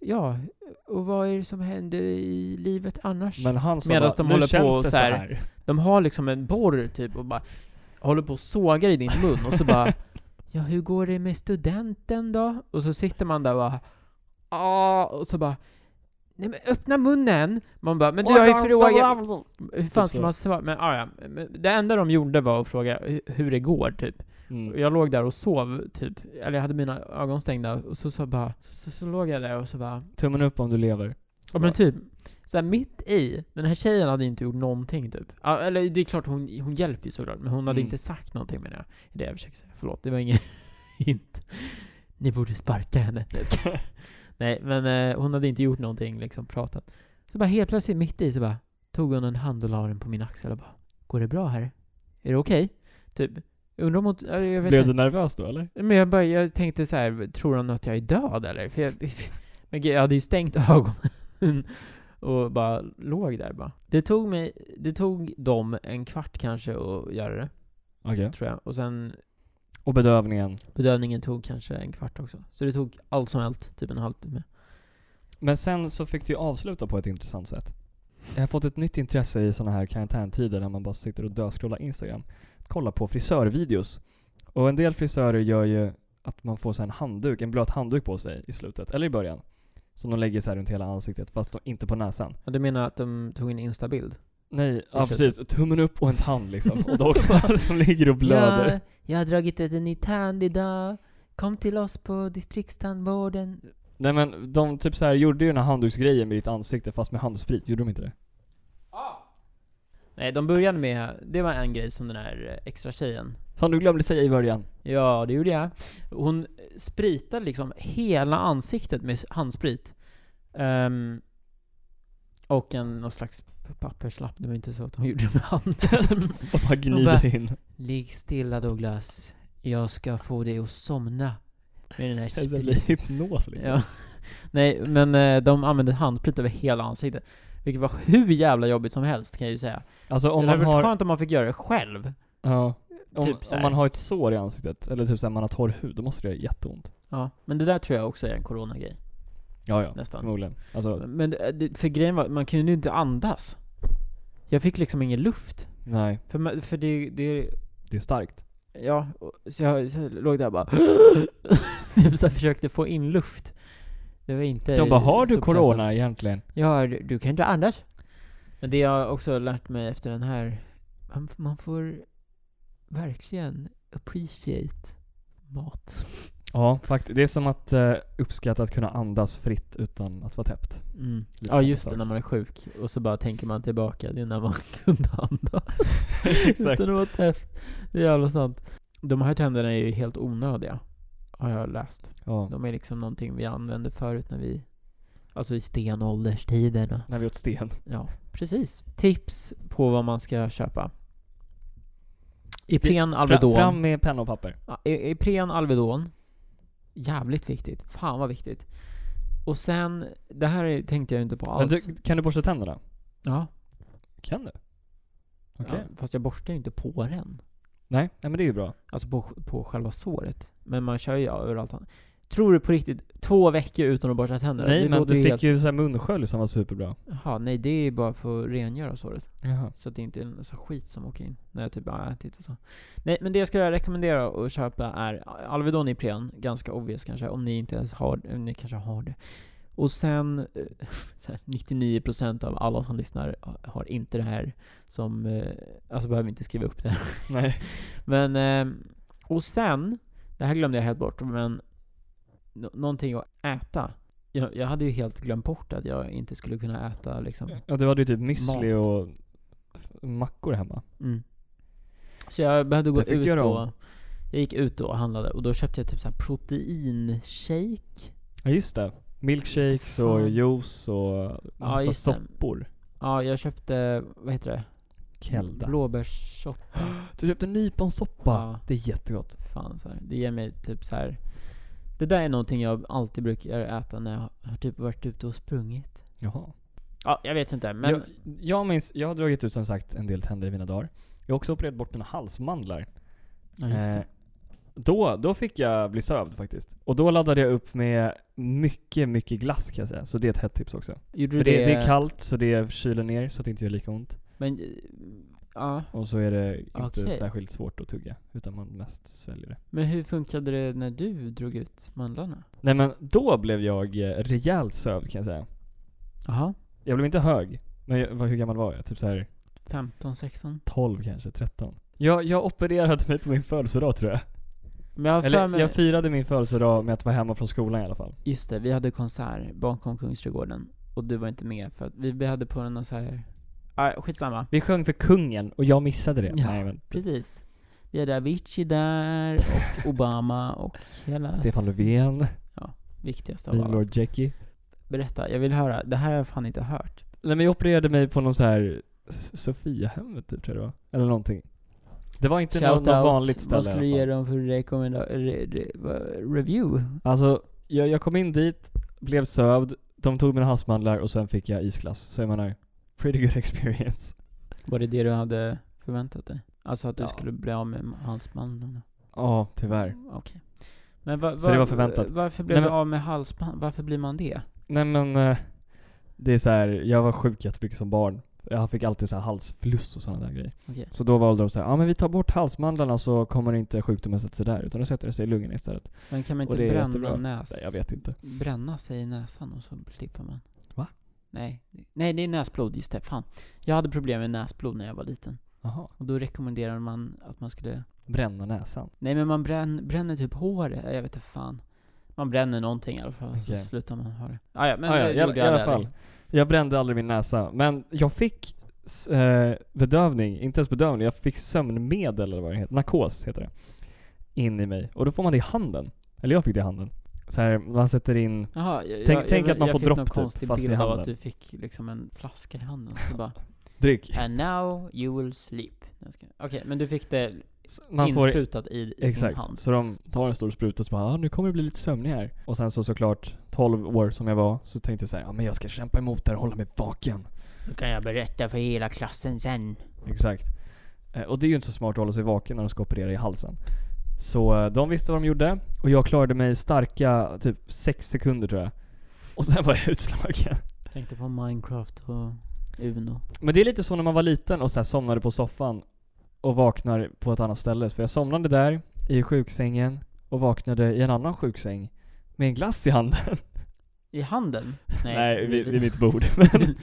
S1: Ja, och vad är det som händer i livet annars?
S2: Men han sa
S1: Medan
S2: bara,
S1: de
S2: "Nu
S1: håller på
S2: känns
S1: och
S2: det
S1: så här." De har liksom en borr typ och bara håller på och sågar i din mun och så bara Ja, hur går det med studenten då? Och så sitter man där och bara "Ah", och så bara Nej men öppna munnen! Man bara, men du har ju frågat... Hur fan ska
S2: så.
S1: man svara? Men ah, ja, men det enda de gjorde var att fråga hu- hur det går typ. Och
S2: Mm.
S1: Jag låg där och sov typ, eller jag hade mina ögon stängda och så, så bara, så, så låg jag där och så bara
S2: Tummen upp om du lever.
S1: Ja men typ, så här mitt i, den här tjejen hade inte gjort någonting typ. Ja, Eller det är klart hon, hon hjälper ju såklart, men hon hade
S2: Mm.
S1: inte sagt någonting med det. Det jag försöker säga, förlåt, det var ingen hint. Ni borde sparka henne. Nej, jag skojar. Nej, men eh, hon hade inte gjort någonting, liksom pratat. Så bara helt plötsligt mitt i så bara tog hon en hand och la den på min axel och bara Går det bra här? Är det okej? Typ. Jag Undrar om hon... ja, Jag vet
S2: Blev
S1: inte.
S2: du nervös då eller?
S1: Men jag, bara, jag tänkte så här, tror han att jag är död eller? För jag, men gud, jag hade ju stängt ögonen och bara låg där bara. Det tog mig, det tog dem en kvart kanske att göra det,
S2: Okej.
S1: tror jag. Och sen
S2: Och bedövningen.
S1: bedövningen tog kanske en kvart också. Så det tog allt som allt, typ en halvtimme.
S2: Men sen så fick du ju avsluta på ett intressant sätt. Jag har fått ett nytt intresse i såna här karantäntider när man bara sitter och döscrollar Instagram. Kolla på frisörvideos. Och en del frisörer gör ju att man får så här en handduk, en blöt handduk på sig i slutet, eller i början. Som de lägger så här runt hela ansiktet, fast då inte på näsan.
S1: Ja, du menar att de tog en instabild?
S2: Nej, ja
S1: slutet.
S2: precis. Tummen upp och en tand liksom. Och då som ligger och blöder.
S1: Ja, jag har dragit ett nytt tand idag. Kom till oss på distriktstandvården.
S2: Nej men de typ så här gjorde ju den här handduksgrejen med ditt ansikte fast med handsprit, gjorde de inte det?
S1: Nej, de började med, det var en grej som den här eh, extra tjejen
S2: Som du glömde säga i början.
S1: Ja, det gjorde jag. Hon spritade liksom hela ansiktet med handsprit. Ehm, och en, någon slags p- papperslapp. Det var inte så att hon gjorde det med handen.
S2: Och bara
S1: Och
S2: gnider in.
S1: Ligg stilla Douglas. Jag ska få dig att somna. Med den här
S2: Alltså, Det blir
S1: spriten.
S2: hypnos liksom.
S1: Ja. Nej, men eh, de använde handsprit över hela ansiktet. Vilket var hur jävla jobbigt som helst kan jag ju säga.
S2: Alltså om
S1: det hade
S2: man
S1: varit
S2: har,
S1: skönt om man fick göra det själv.
S2: ja, om,
S1: typ så
S2: om
S1: här.
S2: man har ett sår i ansiktet, eller typ såhär man har torr hud, då måste det göra jätteont.
S1: Ja, men det där tror jag också är en coronagrej.
S2: Ja, ja.
S1: Nästan.
S2: Förmodligen. Alltså,
S1: Men det- det, för grejen var, man kunde ju inte andas. Jag fick liksom ingen luft.
S2: nej.
S1: För, ma- för det, det,
S2: Det är starkt.
S1: ja, och- så jag, så jag låg där och bara Typ så här försökte få in luft. Det var inte
S2: De bara, har du
S1: så
S2: corona
S1: passant."
S2: egentligen?
S1: Ja, du, du kan inte andas. Men det jag också har lärt mig efter den här, man, f- man får verkligen appreciate mat.
S2: Ja, faktiskt. Det är som att eh, uppskatta att kunna andas fritt utan att vara täppt.
S1: Mm.
S2: Lite
S1: Ja
S2: samma
S1: just det,
S2: sak.
S1: när man är sjuk. Och så bara tänker man tillbaka, det är när man kunde andas.
S2: Exakt.
S1: Utan att vara täppt. Det är jävla sant. De här tänderna är ju helt onödiga. Har jag läst.
S2: Ja.
S1: De är liksom någonting vi använde förut när vi... Alltså i stenålderstiderna.
S2: När vi åt sten.
S1: Ja, precis. Tips på vad man ska köpa. Ipren,
S2: Fra,
S1: Alvedon.
S2: fram med penna och papper.
S1: Ja, I- Ipren, Alvedon. Jävligt viktigt. Fan vad viktigt. Och sen, det här tänkte jag ju inte på
S2: Men
S1: alls.
S2: du, kan du borsta tänderna?
S1: ja.
S2: Kan du? Okej.
S1: Ja, fast jag borstar ju inte på den.
S2: Nej, nej men det är ju bra.
S1: Alltså på, på själva såret. Men man kör ju överallt annat. Tror du på riktigt två veckor utan att borsta tänderna?
S2: Nej
S1: det
S2: men
S1: låter
S2: du fick
S1: helt...
S2: ju så här munskölj som var superbra.
S1: Jaha, nej det är ju bara för att rengöra såret.
S2: Jaha.
S1: Så att det inte är en massa skit som åker in. När jag typ bara ätit och så. Nej men det jag skulle rekommendera att köpa är Alvedon Ipren. Ganska obvious kanske. Om ni inte ens har om Ni kanske har det. Och sen, eh, så här, 99% av alla som lyssnar har inte det här som, eh, alltså behöver inte skriva upp det här.
S2: Nej.
S1: Men, ehm, och sen, det här glömde jag helt bort, men nå- någonting att äta. Jag, jag hade ju helt glömt bort att jag inte skulle kunna äta liksom.
S2: Ja du hade ju typ müsli och f- mackor hemma.
S1: Mm. Så jag behövde gå
S2: Det fick du
S1: ut
S2: göra
S1: då.
S2: om.
S1: Jag gick ut då och handlade och då köpte jag typ så här proteinshake.
S2: Ja just det. Milkshakes och
S1: Fan.
S2: juice och massa
S1: just det.
S2: soppor.
S1: Ja, jag köpte, vad heter det?
S2: Kelda.
S1: Blåbärssoppa.
S2: Du köpte nyponsoppa.
S1: Ja.
S2: Det är jättegott.
S1: Fan så här. Det ger mig typ så här. Det där är någonting jag alltid brukar äta när jag har typ varit ute och sprungit.
S2: Jaha.
S1: Ja, jag vet inte men...
S2: Jag, jag minns, jag har dragit ut som sagt en del tänder i mina dagar. Jag har också opererat bort mina halsmandlar.
S1: ja, just det.
S2: Eh, Då, då fick jag bli sövd faktiskt. Och då laddade jag upp med mycket, mycket glass kan jag säga. Så det är ett hett tips också.
S1: Gjorde
S2: För
S1: du
S2: det, det är kallt så det kyler ner så att det inte gör lika ont.
S1: Men, eh, ja.
S2: Och så är det inte
S1: Okej.
S2: särskilt svårt att tugga. Utan man mest sväljer det.
S1: Men hur funkade det när du drog ut mandlarna?
S2: Nej men då blev jag eh, rejält sövd kan jag säga.
S1: Jaha.
S2: Jag blev inte hög. Men jag, vad, hur gammal var jag? Typ så här
S1: 15, 16?
S2: 12 kanske, 13. Jag, jag opererade mig på min födelsedag tror jag.
S1: Men jag har för
S2: Eller
S1: mig,
S2: jag firade min födelsedag med att vara hemma från skolan i alla fall.
S1: just det, vi hade konsert bakom Kungsträdgården. Och du var inte med för att vi vi hade på någon så här... Ah, skitsamma.
S2: Vi sjöng för kungen och jag missade det.
S1: Ja,
S2: Nej, men,
S1: Precis. Vi hade Avicii där, och Obama och hela...
S2: Stefan Löfven.
S1: Viktigast av allt.
S2: Bilord Jackie.
S1: Berätta, jag vill höra. Det här har jag fan inte hört.
S2: Nej men jag opererade mig på någon så här S- Sofiahemmet typ tror jag det var. Eller någonting. Det var inte något, något
S1: out.
S2: vanligt ställe
S1: Vad skulle du
S2: i alla
S1: ge
S2: fall.
S1: dem för rekommenda- re, re, vad- review?
S2: Alltså, jag, jag kom in dit, blev sövd, de tog mina havsmandlar och sen fick jag isglass. Så jag menar, pretty good experience.
S1: Var det det du hade förväntat dig? Alltså att du
S2: Ja.
S1: skulle bli av med halsbanden?
S2: Ja, tyvärr.
S1: Okej. Men va, va,
S2: Så det var förväntat.
S1: Varför blev
S2: Nej,
S1: du
S2: men-
S1: av med halsband? Varför blir man det?
S2: Nej men, eh, det är så här, jag var sjuk jättemycket som barn. Jag fick alltid så här halsfluss och sådana där grejer.
S1: Okej.
S2: Så då valde de så här, ja ah, men vi tar bort halsmandlarna så kommer inte sjukdomen sätta sig där. Utan då sätter det sig i lungorna istället.
S1: Men kan man
S2: Och
S1: inte
S2: det är
S1: bränna
S2: jättebra.
S1: näs...
S2: Nej, jag vet inte.
S1: Bränna sig i näsan och så slipper man.
S2: Va?
S1: Nej. Nej, det är näsblod. Just det. Fan. Jag hade problem med näsblod när jag var liten.
S2: Jaha.
S1: Och då rekommenderade man att man skulle...
S2: Bränna näsan.
S1: Nej men man bränn, bränner typ håret. Jag vet inte fan. Man bränner någonting i alla fall,
S2: Okej.
S1: så slutar man ha det. Ah, ja, men
S2: Ah, ja,
S1: det
S2: i, alla-
S1: gjorde
S2: i
S1: jag
S2: alla
S1: där.
S2: fall. Jag brände aldrig min näsa, men jag fick s- eh, bedövning, inte ens bedövning, jag fick sömnmedel eller vad det heter, narkos heter det. In i mig. Och då får man det i handen. Eller jag fick det i handen. Så här, man sätter in...
S1: Jaha, jag,
S2: Tänk-
S1: jag,
S2: tänk
S1: jag,
S2: att man
S1: jag
S2: får
S1: fick
S2: dropp
S1: någon
S2: typ,
S1: konstig
S2: fast i
S1: bild av
S2: handen.
S1: att du fick liksom en flaska i handen. Så bara,
S2: Dryck.
S1: And now you will sleep. Nej, jag ska- Okej, men du fick det
S2: Man får,
S1: insprutat i, i din
S2: exakt.
S1: hand.
S2: Så de tar en stor spruta och så bara ah, nu kommer det bli lite sömnig här. Och sen så såklart, 12 år som jag var, så tänkte jag så här, ah, men jag ska kämpa emot det här och hålla mig vaken.
S1: Då kan jag berätta för hela klassen sen.
S2: Exakt. Eh, Och det är ju inte så smart att hålla sig vaken när de ska operera i halsen. Så eh, de visste vad de gjorde och jag klarade mig starka typ 6 sekunder tror jag. Och sen var jag utslagen.
S1: Tänkte på Minecraft och Uno.
S2: Men det är lite så när man var liten och så här somnade på soffan och vaknar på ett annat ställe. För jag somnade där i sjuksängen och vaknade i en annan sjuksäng med en glass i handen.
S1: I handen?
S2: Nej, vid, vid mitt bord. men,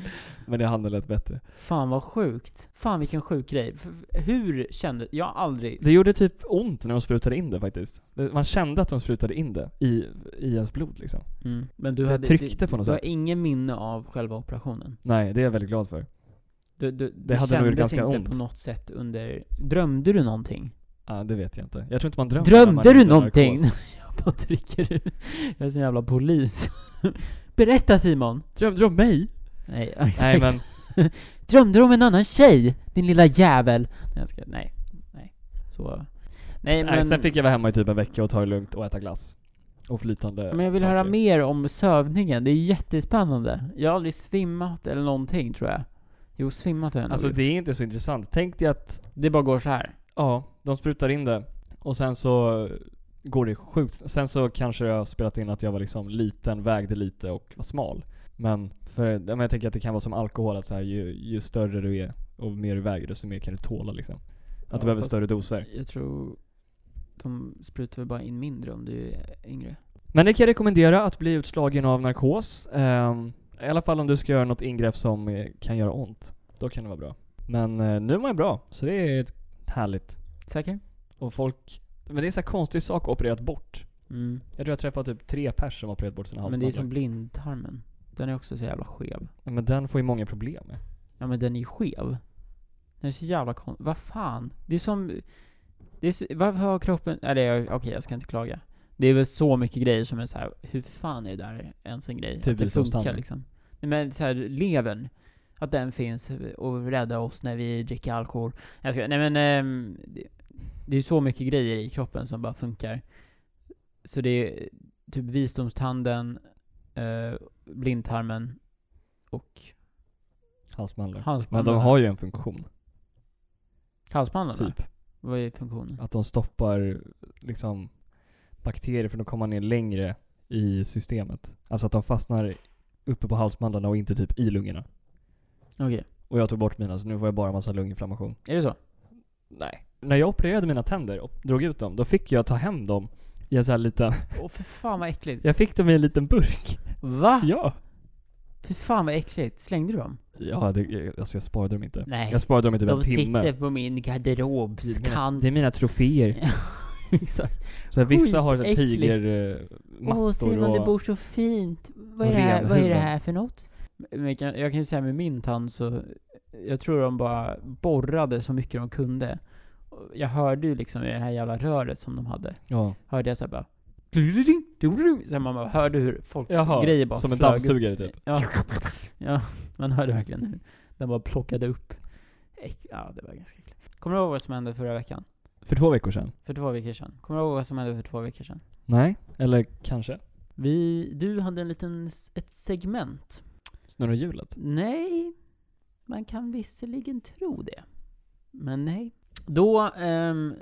S2: men i handen lät bättre.
S1: Fan vad sjukt. Fan vilken sjuk grej. F- f- Hur kände... Jag har aldrig...
S2: Det gjorde typ ont när de sprutade in det faktiskt. Det- Man kände att de sprutade in det i, i ens blod liksom.
S1: Mm. Men du
S2: det
S1: hade...
S2: tryckte
S1: du,
S2: på något
S1: du
S2: sätt.
S1: har ingen minne av själva operationen?
S2: Nej, det är jag väldigt glad för.
S1: Du, du, det,
S2: hade nog gjort
S1: kändes
S2: ganska
S1: inte
S2: ont.
S1: på något sätt under... Drömde du någonting?
S2: Ja, det vet jag inte. Jag tror inte man drömmer när man
S1: Drömde
S2: är
S1: du
S2: under
S1: någonting?
S2: narkos.
S1: jag bara trycker ut. Jag är sån jävla polis. Berätta Simon!
S2: Drömde du om mig?
S1: Nej, exakt.
S2: Nej men,
S1: Drömde du om en annan tjej? Din lilla jävel! Nej, jag ska, nej. nej. Så... Nej
S2: nej,
S1: men...
S2: sen fick jag vara hemma i typ en vecka och ta det lugnt och äta glass. Och flytande
S1: Men jag vill
S2: saker.
S1: höra mer om sövningen, det är jättespännande. Jag har aldrig svimmat eller någonting tror jag. Jo, svimmat har jag
S2: Alltså
S1: nog
S2: det är inte så intressant. Tänk dig att,
S1: gjort. Det bara går så här.
S2: ja, de sprutar in det och sen så eh, går det sjukt. Sen så kanske jag har spelat in att jag var liksom liten, vägde lite och var smal. Men, för, ja, men jag tänker att det kan vara som alkohol, att så här, ju, ju större du är och mer du väger desto mer kan du tåla liksom. Att
S1: Ja,
S2: du behöver
S1: fast-
S2: större doser.
S1: Jag tror de sprutar väl bara in mindre om du är yngre.
S2: Men det kan jag rekommendera att bli utslagen av narkos. Ehm, I alla fall om du ska göra något ingrepp som eh, kan göra ont. Då kan det vara bra. Men eh, nu mår jag bra, så det är ett- härligt.
S1: Säker?
S2: Och folk... Men det är en sån här konstig sak att operera bort.
S1: Mm.
S2: Jag tror jag träffade typ tre pers som har opererat bort sina
S1: Men det är som
S2: halsbandlar.
S1: blindtarmen. Den är också så jävla skev.
S2: Ja, Men den får ju många problem med.
S1: Ja men den är ju skev. Den är så jävla konstig. Vad fan? Det är som... Det är så, varför har kroppen... Eller jag- okej, jag ska inte klaga. Det är väl så mycket grejer som är så här. hur fan är det där ens en grej?
S2: Typ
S1: att det
S2: vi som
S1: funkar
S2: standard.
S1: liksom. Nej men så här, levern. Att den finns och räddar oss när vi dricker alkohol. Jag ska, nej men... ehm, det, det är så mycket grejer i kroppen som bara funkar. Så det är typ visdomstanden, eh, blindtarmen och
S2: Halsmandlar. Men
S1: halsbanden.
S2: de har ju en funktion.
S1: Halsbanden? Typ.
S2: Typ.
S1: Vad är funktionen?
S2: Att de stoppar liksom bakterier från att komma ner längre i systemet. Alltså att de fastnar uppe på halsmandlarna och inte typ i lungorna.
S1: Okej,
S2: Och jag tog bort mina så nu får jag bara massa lunginflammation.
S1: är det så?
S2: Nej. När jag opererade mina tänder och drog ut dem, då fick jag ta hem dem i en sån här liten...
S1: Åh för fan vad äckligt.
S2: Jag fick dem i en liten burk.
S1: Va?
S2: Ja.
S1: För fan vad äckligt. Slängde du dem?
S2: Ja, det, jag- alltså jag sparade dem inte.
S1: Nej.
S2: Jag sparade dem i typ en
S1: De
S2: timme.
S1: sitter på min
S2: Det är mina-
S1: garderobskant.
S2: Det är mina troféer.
S1: Exakt.
S2: Så här, vissa har
S1: Skitäckligt. Åh
S2: tigermattor
S1: Simon, det
S2: och...
S1: bor så fint. Vad är,
S2: och
S1: det här, vad är det
S2: renhuvuden.
S1: här för något? Men jag kan, jag kan ju säga med min tand så, jag tror de bara borrade så mycket de kunde. Och Jag hörde ju liksom i det här jävla röret som de hade,
S2: Ja.
S1: hörde jag såhär bara Så man bara hörde hur folk,
S2: Jaha,
S1: grejer bara
S2: som en
S1: flög upp.
S2: dammsugare typ.
S1: Ja, ja man hörde verkligen hur den bara plockade upp. Äck, ja, det var ganska äckligt. Kommer du ihåg vad som hände förra veckan?
S2: För två veckor sedan?
S1: För två veckor sedan? Kommer du ihåg vad som hände för två veckor sedan?
S2: Nej. Eller kanske?
S1: Vi, du hade en liten, s- ett segment.
S2: Snurra hjulet?
S1: Nej, man kan visserligen tro det. Men nej. Då ehm,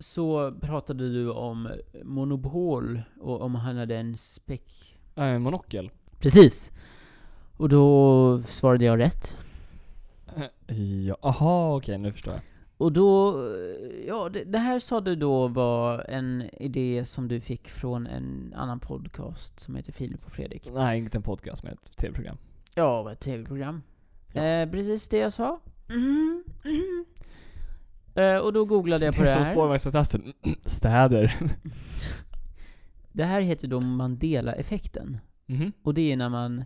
S1: så pratade du om Monopol och om han hade en spek...
S2: Äh, monokel?
S1: Precis. Och då svarade jag rätt.
S2: Äh, ja, aha okej nu förstår jag.
S1: Och då, eh, ja det, det här sa du då var en idé som du fick från en annan podcast som heter Filip och Fredrik.
S2: Nej, inte en podcast men ett tv-program.
S1: Ja, det var ett tv-program.
S2: Ja.
S1: Eh, precis det jag sa. Mm, mm. Eh, och då googlade jag på det
S2: Som
S1: här.
S2: spårvagnsattasten. Städer.
S1: Det här heter då Mandela-effekten.
S2: Mhm.
S1: Och det är när man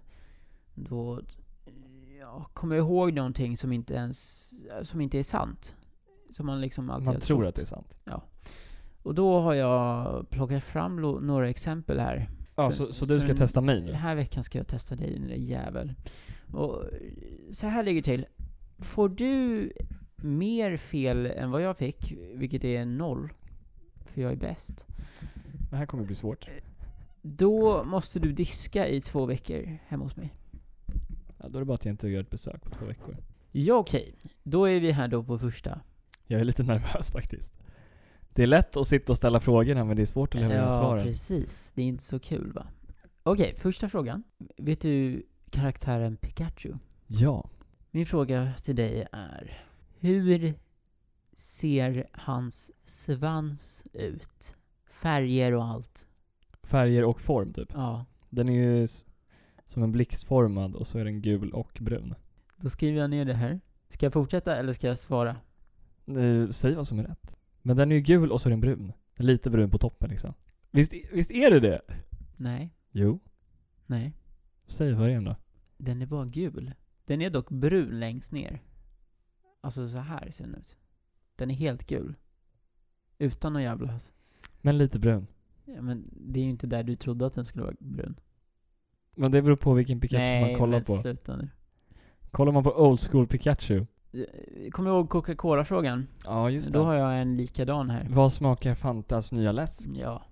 S1: då ja, kommer ihåg någonting som inte ens, som inte är sant. Som man liksom alltid
S2: Man
S1: har
S2: tror
S1: trott.
S2: att det är sant.
S1: Och då har jag plockat fram lo- några exempel här.
S2: Ja,
S1: Så-
S2: så, så du
S1: så
S2: ska
S1: en-
S2: testa mig
S1: Den
S2: nu?
S1: här veckan ska jag testa dig din lilla jävel. Och så här ligger det till. Får du mer fel än vad jag fick, vilket är noll, för jag är bäst.
S2: Det här kommer bli svårt.
S1: Då måste du diska i två veckor hemma hos mig.
S2: Ja, då är det bara att jag inte gör ett besök på två veckor.
S1: Ja, okej. Då är vi här då på första.
S2: Jag är lite nervös faktiskt. Det är lätt att sitta och ställa frågorna men det är svårt att leverera
S1: Ja,
S2: svaren.
S1: precis. Det är inte så kul va? Okej, första frågan. Vet du karaktären Pikachu?
S2: Ja.
S1: Min fråga till dig är, hur ser hans svans ut? Färger och allt.
S2: Färger och form typ.
S1: Ja,
S2: Den är ju s- som en blixtformad och så är den gul och brun.
S1: då skriver jag ner det här. Ska jag fortsätta eller ska jag svara?
S2: Eh, Säg vad som är rätt. Men den är ju gul och så är den brun. Lite brun på toppen liksom. Visst, visst är det det?
S1: Nej,
S2: Jo.
S1: nej.
S2: Säg vad det är då.
S1: Den är bara gul. Den är dock brun längst ner. Alltså så här ser den ut. Den är helt gul. Utan någon jävla...
S2: Men lite brun.
S1: Ja, men det är ju inte där du trodde att den skulle vara brun.
S2: Men det beror på vilken Pikachu man kollar
S1: men
S2: på.
S1: sluta nu.
S2: Kollar man på old school Pikachu?
S1: Eh, Kommer du ihåg Coca-Cola-frågan?
S2: Ja,
S1: Då har jag en likadan här.
S2: Vad smakar Fantas nya läsk?
S1: Ja.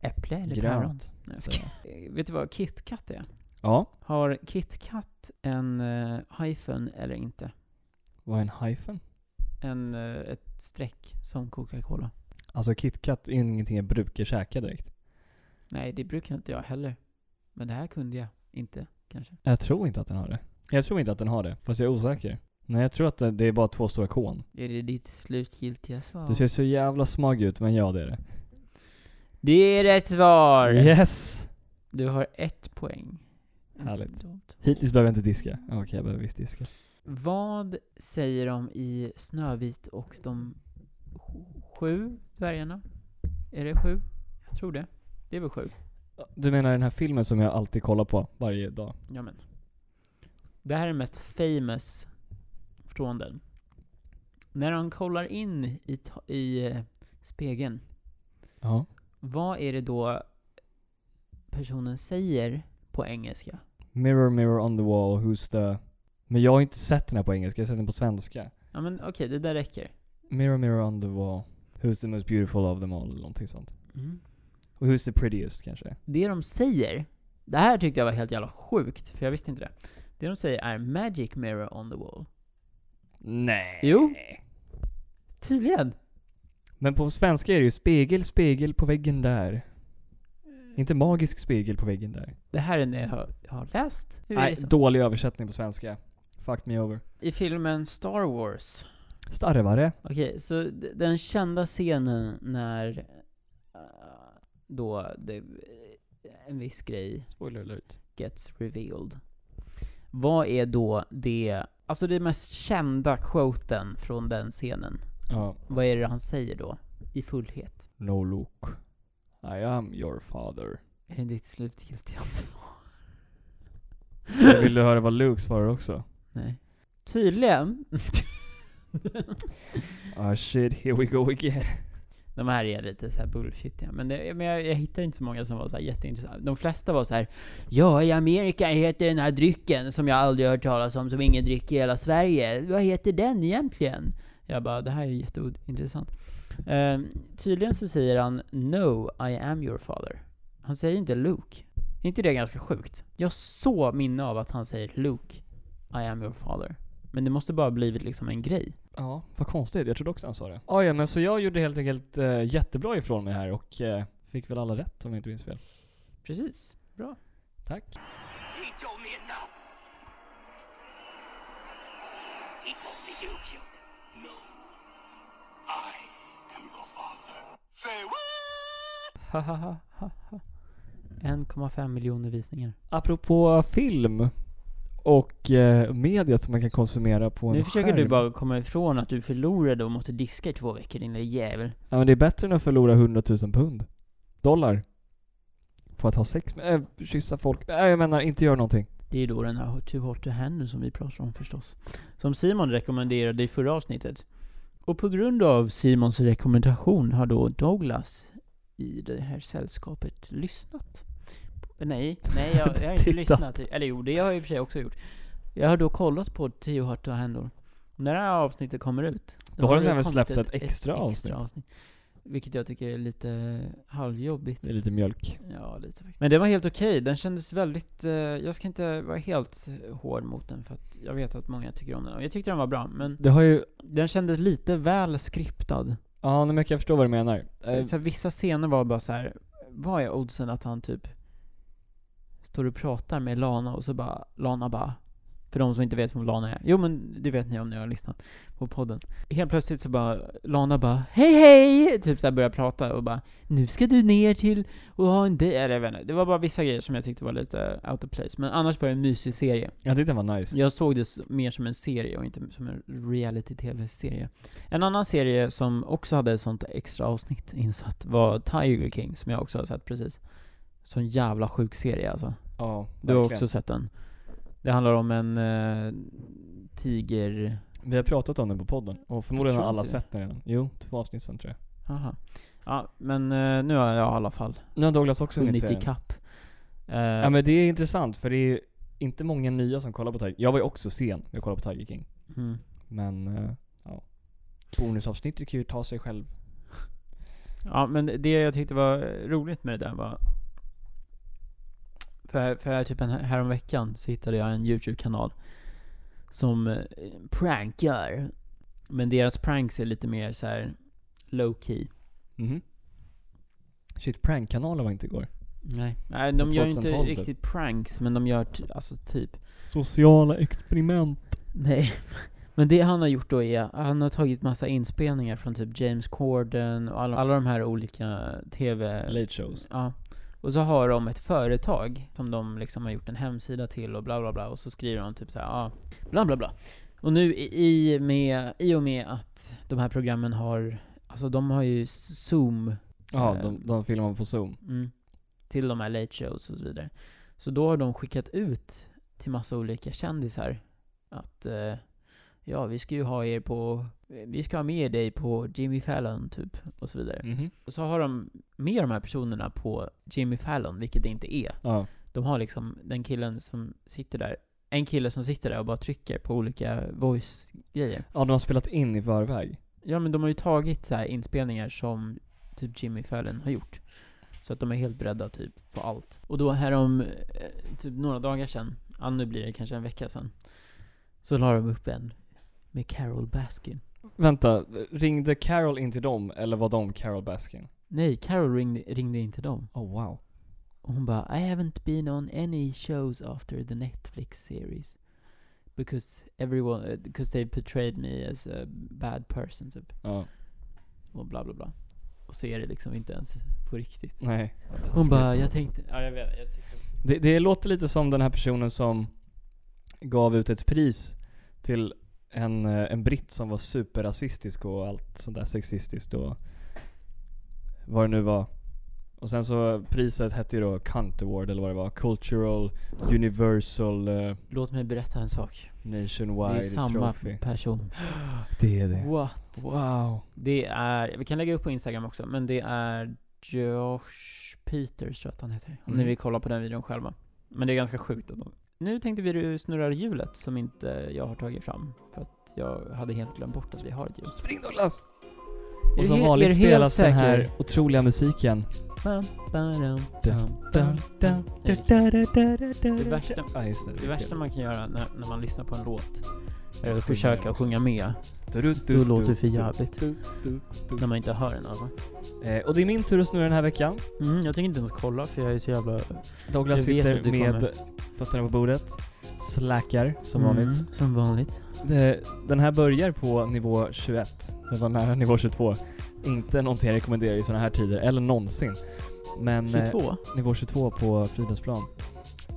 S1: Äpple eller päron?
S2: Grönt.
S1: Nej, jag skojar. Eh, Vet du vad KitKat är?
S2: Ja.
S1: Har KitKat en uh, hyphen eller inte?
S2: Vad är en hyphen?
S1: En, eh, ett streck som Coca-Cola?
S2: Alltså KitKat är ingenting jag brukar käka direkt.
S1: Nej, det brukar inte jag heller. Men det här kunde jag inte, kanske.
S2: Jag tror inte att den har det. Jag tror inte att den har det, fast jag är osäker. Nej, jag tror att det, det är bara två stora kon.
S1: Är det ditt slutgiltiga svar?
S2: Du ser så jävla smag ut, men ja det är det.
S1: Det är rätt svar!
S2: Yes!
S1: Du har ett poäng. Inte
S2: Härligt.
S1: dumt.
S2: Hittills behöver jag inte diska. Ja, Okej, jag behöver visst diska.
S1: Vad säger de i Snövit och de sj- sju dvärgarna? Är det sju? Jag tror det. Det är väl sju?
S2: Du menar den här filmen som jag alltid kollar på varje dag?
S1: Ja men. Det här är mest famous från den. När han kollar in i, ta- i eh, spegeln,
S2: Ja.
S1: vad är det då personen säger på engelska?
S2: Mirror, mirror on the wall, who's the... Men jag har inte sett den här på engelska, jag har sett den på svenska.
S1: Ja men okej, det där räcker.
S2: Mirror, mirror on the wall, who's the most beautiful of them all, eller någonting sånt.
S1: Mm.
S2: Och who's the prettiest kanske?
S1: Det de säger, det här tyckte jag var helt jävla sjukt, för jag visste inte det. Det de säger är 'Magic mirror on the wall'
S2: Nej.
S1: Jo. Tydligen!
S2: Men på svenska är det ju spegel, spegel på väggen där.
S1: Mm.
S2: Inte magisk spegel på väggen där.
S1: Det här är det jag har, har läst. Hur är
S2: Nej,
S1: det så?
S2: dålig översättning på svenska. Fucked me over.
S1: I filmen Star Wars,
S2: Starvare.
S1: okej, så d- den kända scenen när eh, då det, eh, en viss grej
S2: Spoiler alert.
S1: gets revealed. Vad är då det, alltså det mest kända quoten från den scenen?
S2: Ja.
S1: Vad är det han säger då? I fullhet.
S2: No look. I am your father.
S1: Är det ditt slutgiltiga svar?
S2: Vill du höra vad Luke svarar också?
S1: Nej. Tydligen.
S2: Ah shit, here we go again.
S1: De här är lite så här bullshitiga. Men, det, men jag, jag hittar inte så många som var så här jätteintressanta. De flesta var så här. Ja, i Amerika heter den här drycken som jag aldrig har hört talas om, som ingen dricker i hela Sverige. Vad heter den egentligen? Jag bara, det här är jätteintressant. Ehm, tydligen så säger han No, I am your father. Han säger inte Luke. Är inte det ganska sjukt? Jag har så minne av att han säger Luke, I am your father. Men det måste bara blivit liksom en grej.
S2: Ja, vad konstigt. Jag trodde också han sa det. Ah, ja, men så jag gjorde helt enkelt eh, jättebra ifrån mig här och eh, fick väl alla rätt om jag inte minns fel.
S1: Precis. Bra.
S2: Tack.
S5: He told me enough. He told me you killed him. No. I am your father. Say what?
S1: Ha, ha, ha, ha, ha. 1,5 miljoner visningar.
S2: Apropå film och eh, media som man kan konsumera på en
S1: nu försöker
S2: skärm.
S1: du bara komma ifrån att du förlorade och måste diska i två veckor, din lilla jävel.
S2: Ja, men det är bättre än att förlora 100 000 pund. Dollar. På att ha sex med, äh, kyssa folk. Äh, jag menar, inte göra någonting.
S1: Det är ju då den här Too Hot To Handle som vi pratar om förstås. Som Simon rekommenderade i förra avsnittet. Och på grund av Simons rekommendation har då Douglas i det här sällskapet lyssnat. Nej, nej jag, jag har inte
S2: Tittat.
S1: lyssnat. Eller jo, det har jag i och för sig också gjort. Jag har då kollat på Too Hot To Handle. När det här avsnittet kommer ut.
S2: Då har de
S1: det
S2: även
S1: kommit
S2: släppt ett extra avsnitt.
S1: Vilket jag tycker är lite halvjobbigt.
S2: Det är lite mjölk.
S1: Ja, lite faktiskt. typ. Men den var helt okej. Den kändes väldigt... Eh, jag ska inte vara helt hård mot den för att jag vet att många tycker om den. Och jag tyckte den var bra, men
S2: Det har ju...
S1: den kändes lite väl skriptad.
S2: Ja, nu mycket jag förstår vad du menar. Eh,
S1: Så här, vissa scener var bara så här. vad är oddsen att han typ står och pratar med Lana och så bara, Lana bara för de som inte vet vem Lana är. Jo men det vet ni om ni har lyssnat på podden. Helt plötsligt så bara, Lana bara Hej hej! Typ såhär börjar prata och bara Nu ska du ner till och ha en dejt. Eller jag vet inte. Det var bara vissa grejer som jag tyckte var lite out of place. Men annars var det en mysig serie.
S2: jag tyckte den var nice.
S1: Jag såg det s- mer som en serie och inte som en reality-tv-serie. En annan serie som också hade ett sånt extra avsnitt insatt var Tiger King, som jag också har sett precis. Sån jävla sjuk serie alltså.
S2: Ja,
S1: Du har
S2: verkligen.
S1: också sett den. Det handlar om en eh, tiger...
S2: Vi har pratat om den på podden. Och förmodligen
S1: Jag
S2: har
S1: tror
S2: alla
S1: inte det.
S2: sett den redan. Jo, två avsnitt sen tror jag.
S1: Aha. Ja, men eh, nu har jag i alla fall
S2: Nu har Douglas också hunnit
S1: hunnit
S2: se den.
S1: ikapp. Eh,
S2: Ja men det är intressant för det är inte många nya som kollar på Tiger Jag var ju också sen när jag kollade på Tiger King.
S1: mm.
S2: Men, eh, ja. Bonusavsnittet kan ju ta sig själv.
S1: Ja, men det jag tyckte var roligt med det där var... För, för typ en, häromveckan så hittade jag en YouTube-kanal som eh, prankar. Men deras pranks är lite mer så här low key.
S2: Mhm. Shit, prankkanalen var inte igår.
S1: Nej. Nej,
S2: Så
S1: de gör ju inte
S2: 2012 typ.
S1: riktigt pranks, men de gör ty, alltså typ.
S2: Sociala experiment.
S1: Nej. Men det han har gjort då är, han har tagit massa inspelningar från typ James Corden och alla, alla de här olika TV...
S2: Eh, Late shows.
S1: Ja. Och så har de ett företag som de liksom har gjort en hemsida till och bla bla bla och så skriver de typ så här, ja, bla bla bla. Och nu i, i med, i och med att de här programmen har, alltså de har ju zoom
S2: Ja,
S1: Eh.
S2: de, de filmar på zoom.
S1: mm, till de här late shows och så vidare. Så då har de skickat ut till massa olika kändisar att eh, ja, vi ska ju ha er på, vi ska ha med dig på Jimmy Fallon typ och så vidare.
S2: Mhm.
S1: Och så har de med de här personerna på Jimmy Fallon, vilket det inte är.
S2: Ja.
S1: De har liksom den killen som sitter där, en kille som sitter där och bara trycker på olika voice-grejer.
S2: ja, de har spelat in i förväg.
S1: Ja men de har ju tagit så här inspelningar som typ Jimmy Fallon har gjort. Så att de är helt beredda typ på allt. Och då här om eh, typ några dagar sedan, ja nu blir det kanske en vecka sedan, så la de upp en med Carol Baskin.
S2: Vänta, ringde Carol in till dem eller var de Carol Baskin?
S1: Nej, Carol ringde, ringde in till dem.
S2: Oh wow.
S1: Och hon bara I haven't been on any shows after the Netflix series. Because everyone, eh, because they portrayed me as a bad person typ.
S2: Ja,
S1: Och bla bla bla. Och så är det liksom inte ens på riktigt.
S2: nej.
S1: Hon bara, jag tänkte... Ja, jag vet. Jag tyckte...
S2: Det, det låter lite som den här personen som gav ut ett pris till en, eh, en britt som var superrasistisk och allt sånt där sexistiskt och vad det nu var. Och sen så priset hette ju då Cunt Award eller vad det var. Cultural Universal eh,
S1: Låt mig berätta en sak. Det
S2: Nationwide
S1: är samma
S2: Trophy.
S1: person.
S2: Det är det.
S1: What?
S2: Wow.
S1: Det är, vi kan lägga upp på Instagram också, men det är Josh Peters tror jag att han heter. Om ni
S2: Mm.
S1: vill kolla på den videon själva. Men det är ganska sjukt att de... Nu tänkte vi du snurrar hjulet som inte jag har tagit fram. För att jag hade helt glömt bort att vi har ett hjul.
S2: Spring Douglas!
S1: Är
S2: Och
S1: du
S2: som
S1: he- är
S2: vanligt
S1: du helt
S2: spelas den här
S1: säker?
S2: otroliga musiken.
S1: Bam, badam, bam, bam.
S2: Det
S1: värsta-
S2: Ja, just det.
S1: Det värsta man kan göra när, när man lyssnar på en låt är att försöka sjunga med.
S2: Du, du,
S1: Då låter det för jävligt.
S2: du, du, du.
S1: När man inte hör den alltså.
S2: Eh, och det är min tur att snurra den här veckan.
S1: Mm, jag tänker inte ens kolla för jag är så jävla...
S2: Douglas
S1: Jag vet
S2: sitter
S1: att du
S2: med
S1: kommer.
S2: fötterna på bordet. Slackar som vanligt.
S1: Mm, som vanligt.
S2: Det, den här börjar på nivå 21. Den var nära nivå 22. Inte någonting jag rekommenderar i såna här tider, eller någonsin. Men eh,
S1: 22?
S2: nivå 22 på Fridhemsplan.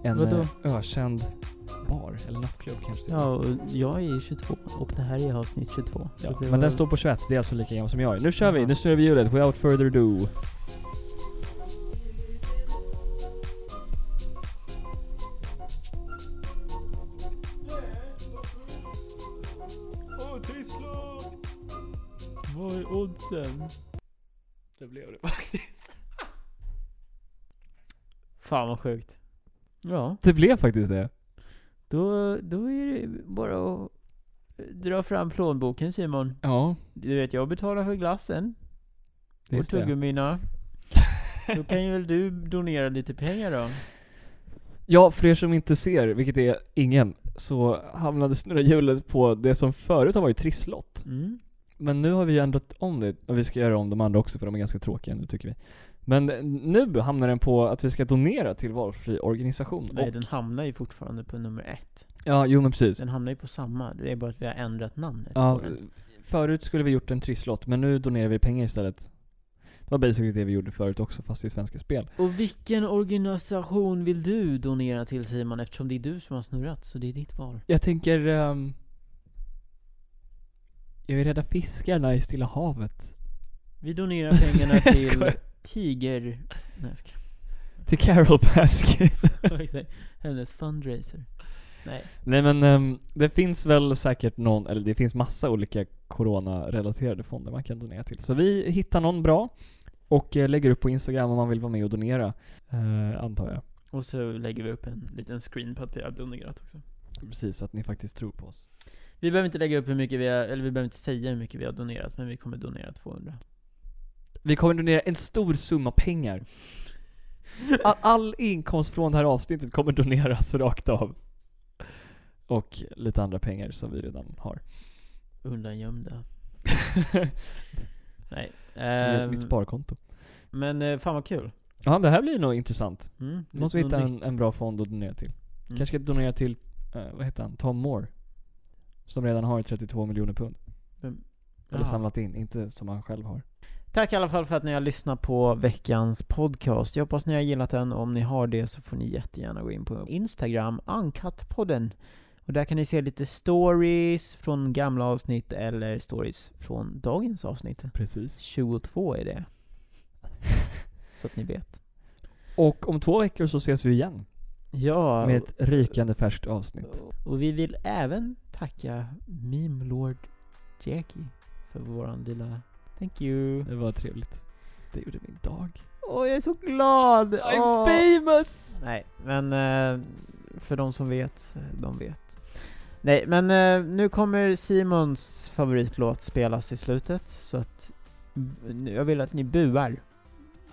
S2: En
S1: Vadå?
S2: eh, ökänd bar, eller nattklubb kanske till och med.
S1: Ja, och jag är 22 och det här är avsnitt 22. Så
S2: Ja,
S1: det
S2: men
S1: var-
S2: den står på 21, det är alltså lika gammal som jag är. Nu kör vi,
S1: Jaha.
S2: nu snurrar vi hjulet, without further ado. Vad är oddsen? Det blev det faktiskt.
S1: Fan vad sjukt. Ja,
S2: Det blev faktiskt det.
S1: då, då är det bara att dra fram plånboken Simon.
S2: Ja,
S1: Du vet, jag betalar för glassen och
S2: just det.
S1: tuggummina. Då kan ju väl du donera lite pengar då?
S2: Ja, för er som inte ser, vilket är ingen, så hamnade snurra hjulet på det som förut har varit trisslott.
S1: Mm.
S2: Men nu har vi ju ändrat om det, och vi ska göra om de andra också för de är ganska tråkiga nu tycker vi. Men eh, nu hamnar den på att vi ska donera till valfri organisation.
S1: Nej,
S2: och,
S1: den hamnar ju fortfarande på nummer ett.
S2: ja, jo men precis.
S1: Den hamnar ju på samma. Det är bara att vi har ändrat namnet
S2: Ja,
S1: på den.
S2: förut skulle vi gjort en trisslott, men nu donerar vi pengar istället. Det var basically det vi gjorde förut också, fast i Svenska Spel.
S1: Och vilken organisation vill du donera till Simon? Eftersom det är du som har snurrat, så det är ditt val.
S2: Jag tänker... ehm, jag vill rädda fiskarna i Stilla havet.
S1: Vi donerar pengarna
S2: Jag
S1: till
S2: skojar.
S1: Tiger... Nej, jag skojar.
S2: Till Carol Baskin.
S1: Exakt. Hennes fundraiser. Nej.
S2: Nej men ehm, det finns väl säkert någon, eller det finns massa olika corona-relaterade fonder man kan donera till. Så vi hittar någon bra och eh, lägger upp på Instagram om man vill vara med och donera, eh, antar jag.
S1: Och så lägger vi upp en liten screen på att vi har donerat också.
S2: Precis, så att ni faktiskt tror på oss.
S1: Vi behöver inte lägga upp hur mycket vi har, eller vi behöver inte säga hur mycket vi har donerat, men vi kommer donera 200.
S2: Vi kommer donera en stor summa pengar. All, all inkomst från det här avsnittet kommer doneras rakt av. Och lite andra pengar som vi redan har.
S1: Undangömda. Nej. ehm,
S2: Mitt sparkonto.
S1: men eh, fan vad kul.
S2: Ja, det här blir nog intressant.
S1: Mm,
S2: Nu måste vi
S1: något
S2: hitta en,
S1: nytt.
S2: en bra fond att donera till.
S1: Mm.
S2: Kanske ska donera till, eh, vad heter han, Tom Moore? Som redan har 32 miljoner pund.
S1: Vem?
S2: Eller
S1: Jaha.
S2: samlat in, inte som han själv har.
S1: Tack i alla fall för att ni har lyssnat på veckans podcast. Jag hoppas ni har gillat den. Om ni har det så får ni jättegärna gå in på Instagram, Uncut-podden. Och där kan ni se lite stories från gamla avsnitt eller stories från dagens avsnitt.
S2: Precis.
S1: 22 är det. Så att ni vet.
S2: Och om två veckor så ses vi igen.
S1: Ja,
S2: Med ett rykande färskt avsnitt.
S1: och vi vill även tacka Meme Lord Jackie för våran lilla... Thank you.
S2: Det var trevligt. Det gjorde min dag.
S1: Åh, jag är så glad!
S2: I'm
S1: Åh.
S2: famous!
S1: Nej, men eh, för de som vet, eh, de vet. Nej, men eh, nu kommer Simons favoritlåt spelas i slutet, så att nu- jag vill att ni buar.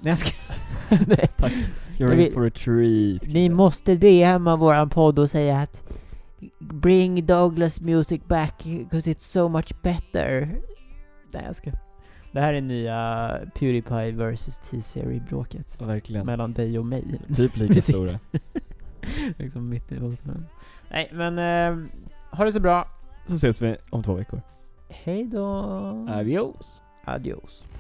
S1: Nej, jag ska... Nej.
S2: Tack. You're
S1: Jag
S2: in
S1: vill-
S2: for a treat.
S1: Ni måste DMa våran podd och säga att Bring Douglas music back, cause it's so much better. Nej, jag ska... Det här är nya Pewdiepie vs T-Serie-bråket.
S2: Verkligen.
S1: Mellan dig och mig.
S2: Typ
S1: Vi
S2: lika
S1: sitter-
S2: stora.
S1: liksom mitt i botten. Nej, men eh, ha det så bra.
S2: Så ses vi om två veckor.
S1: Hej då.
S2: Adios.
S1: Adios.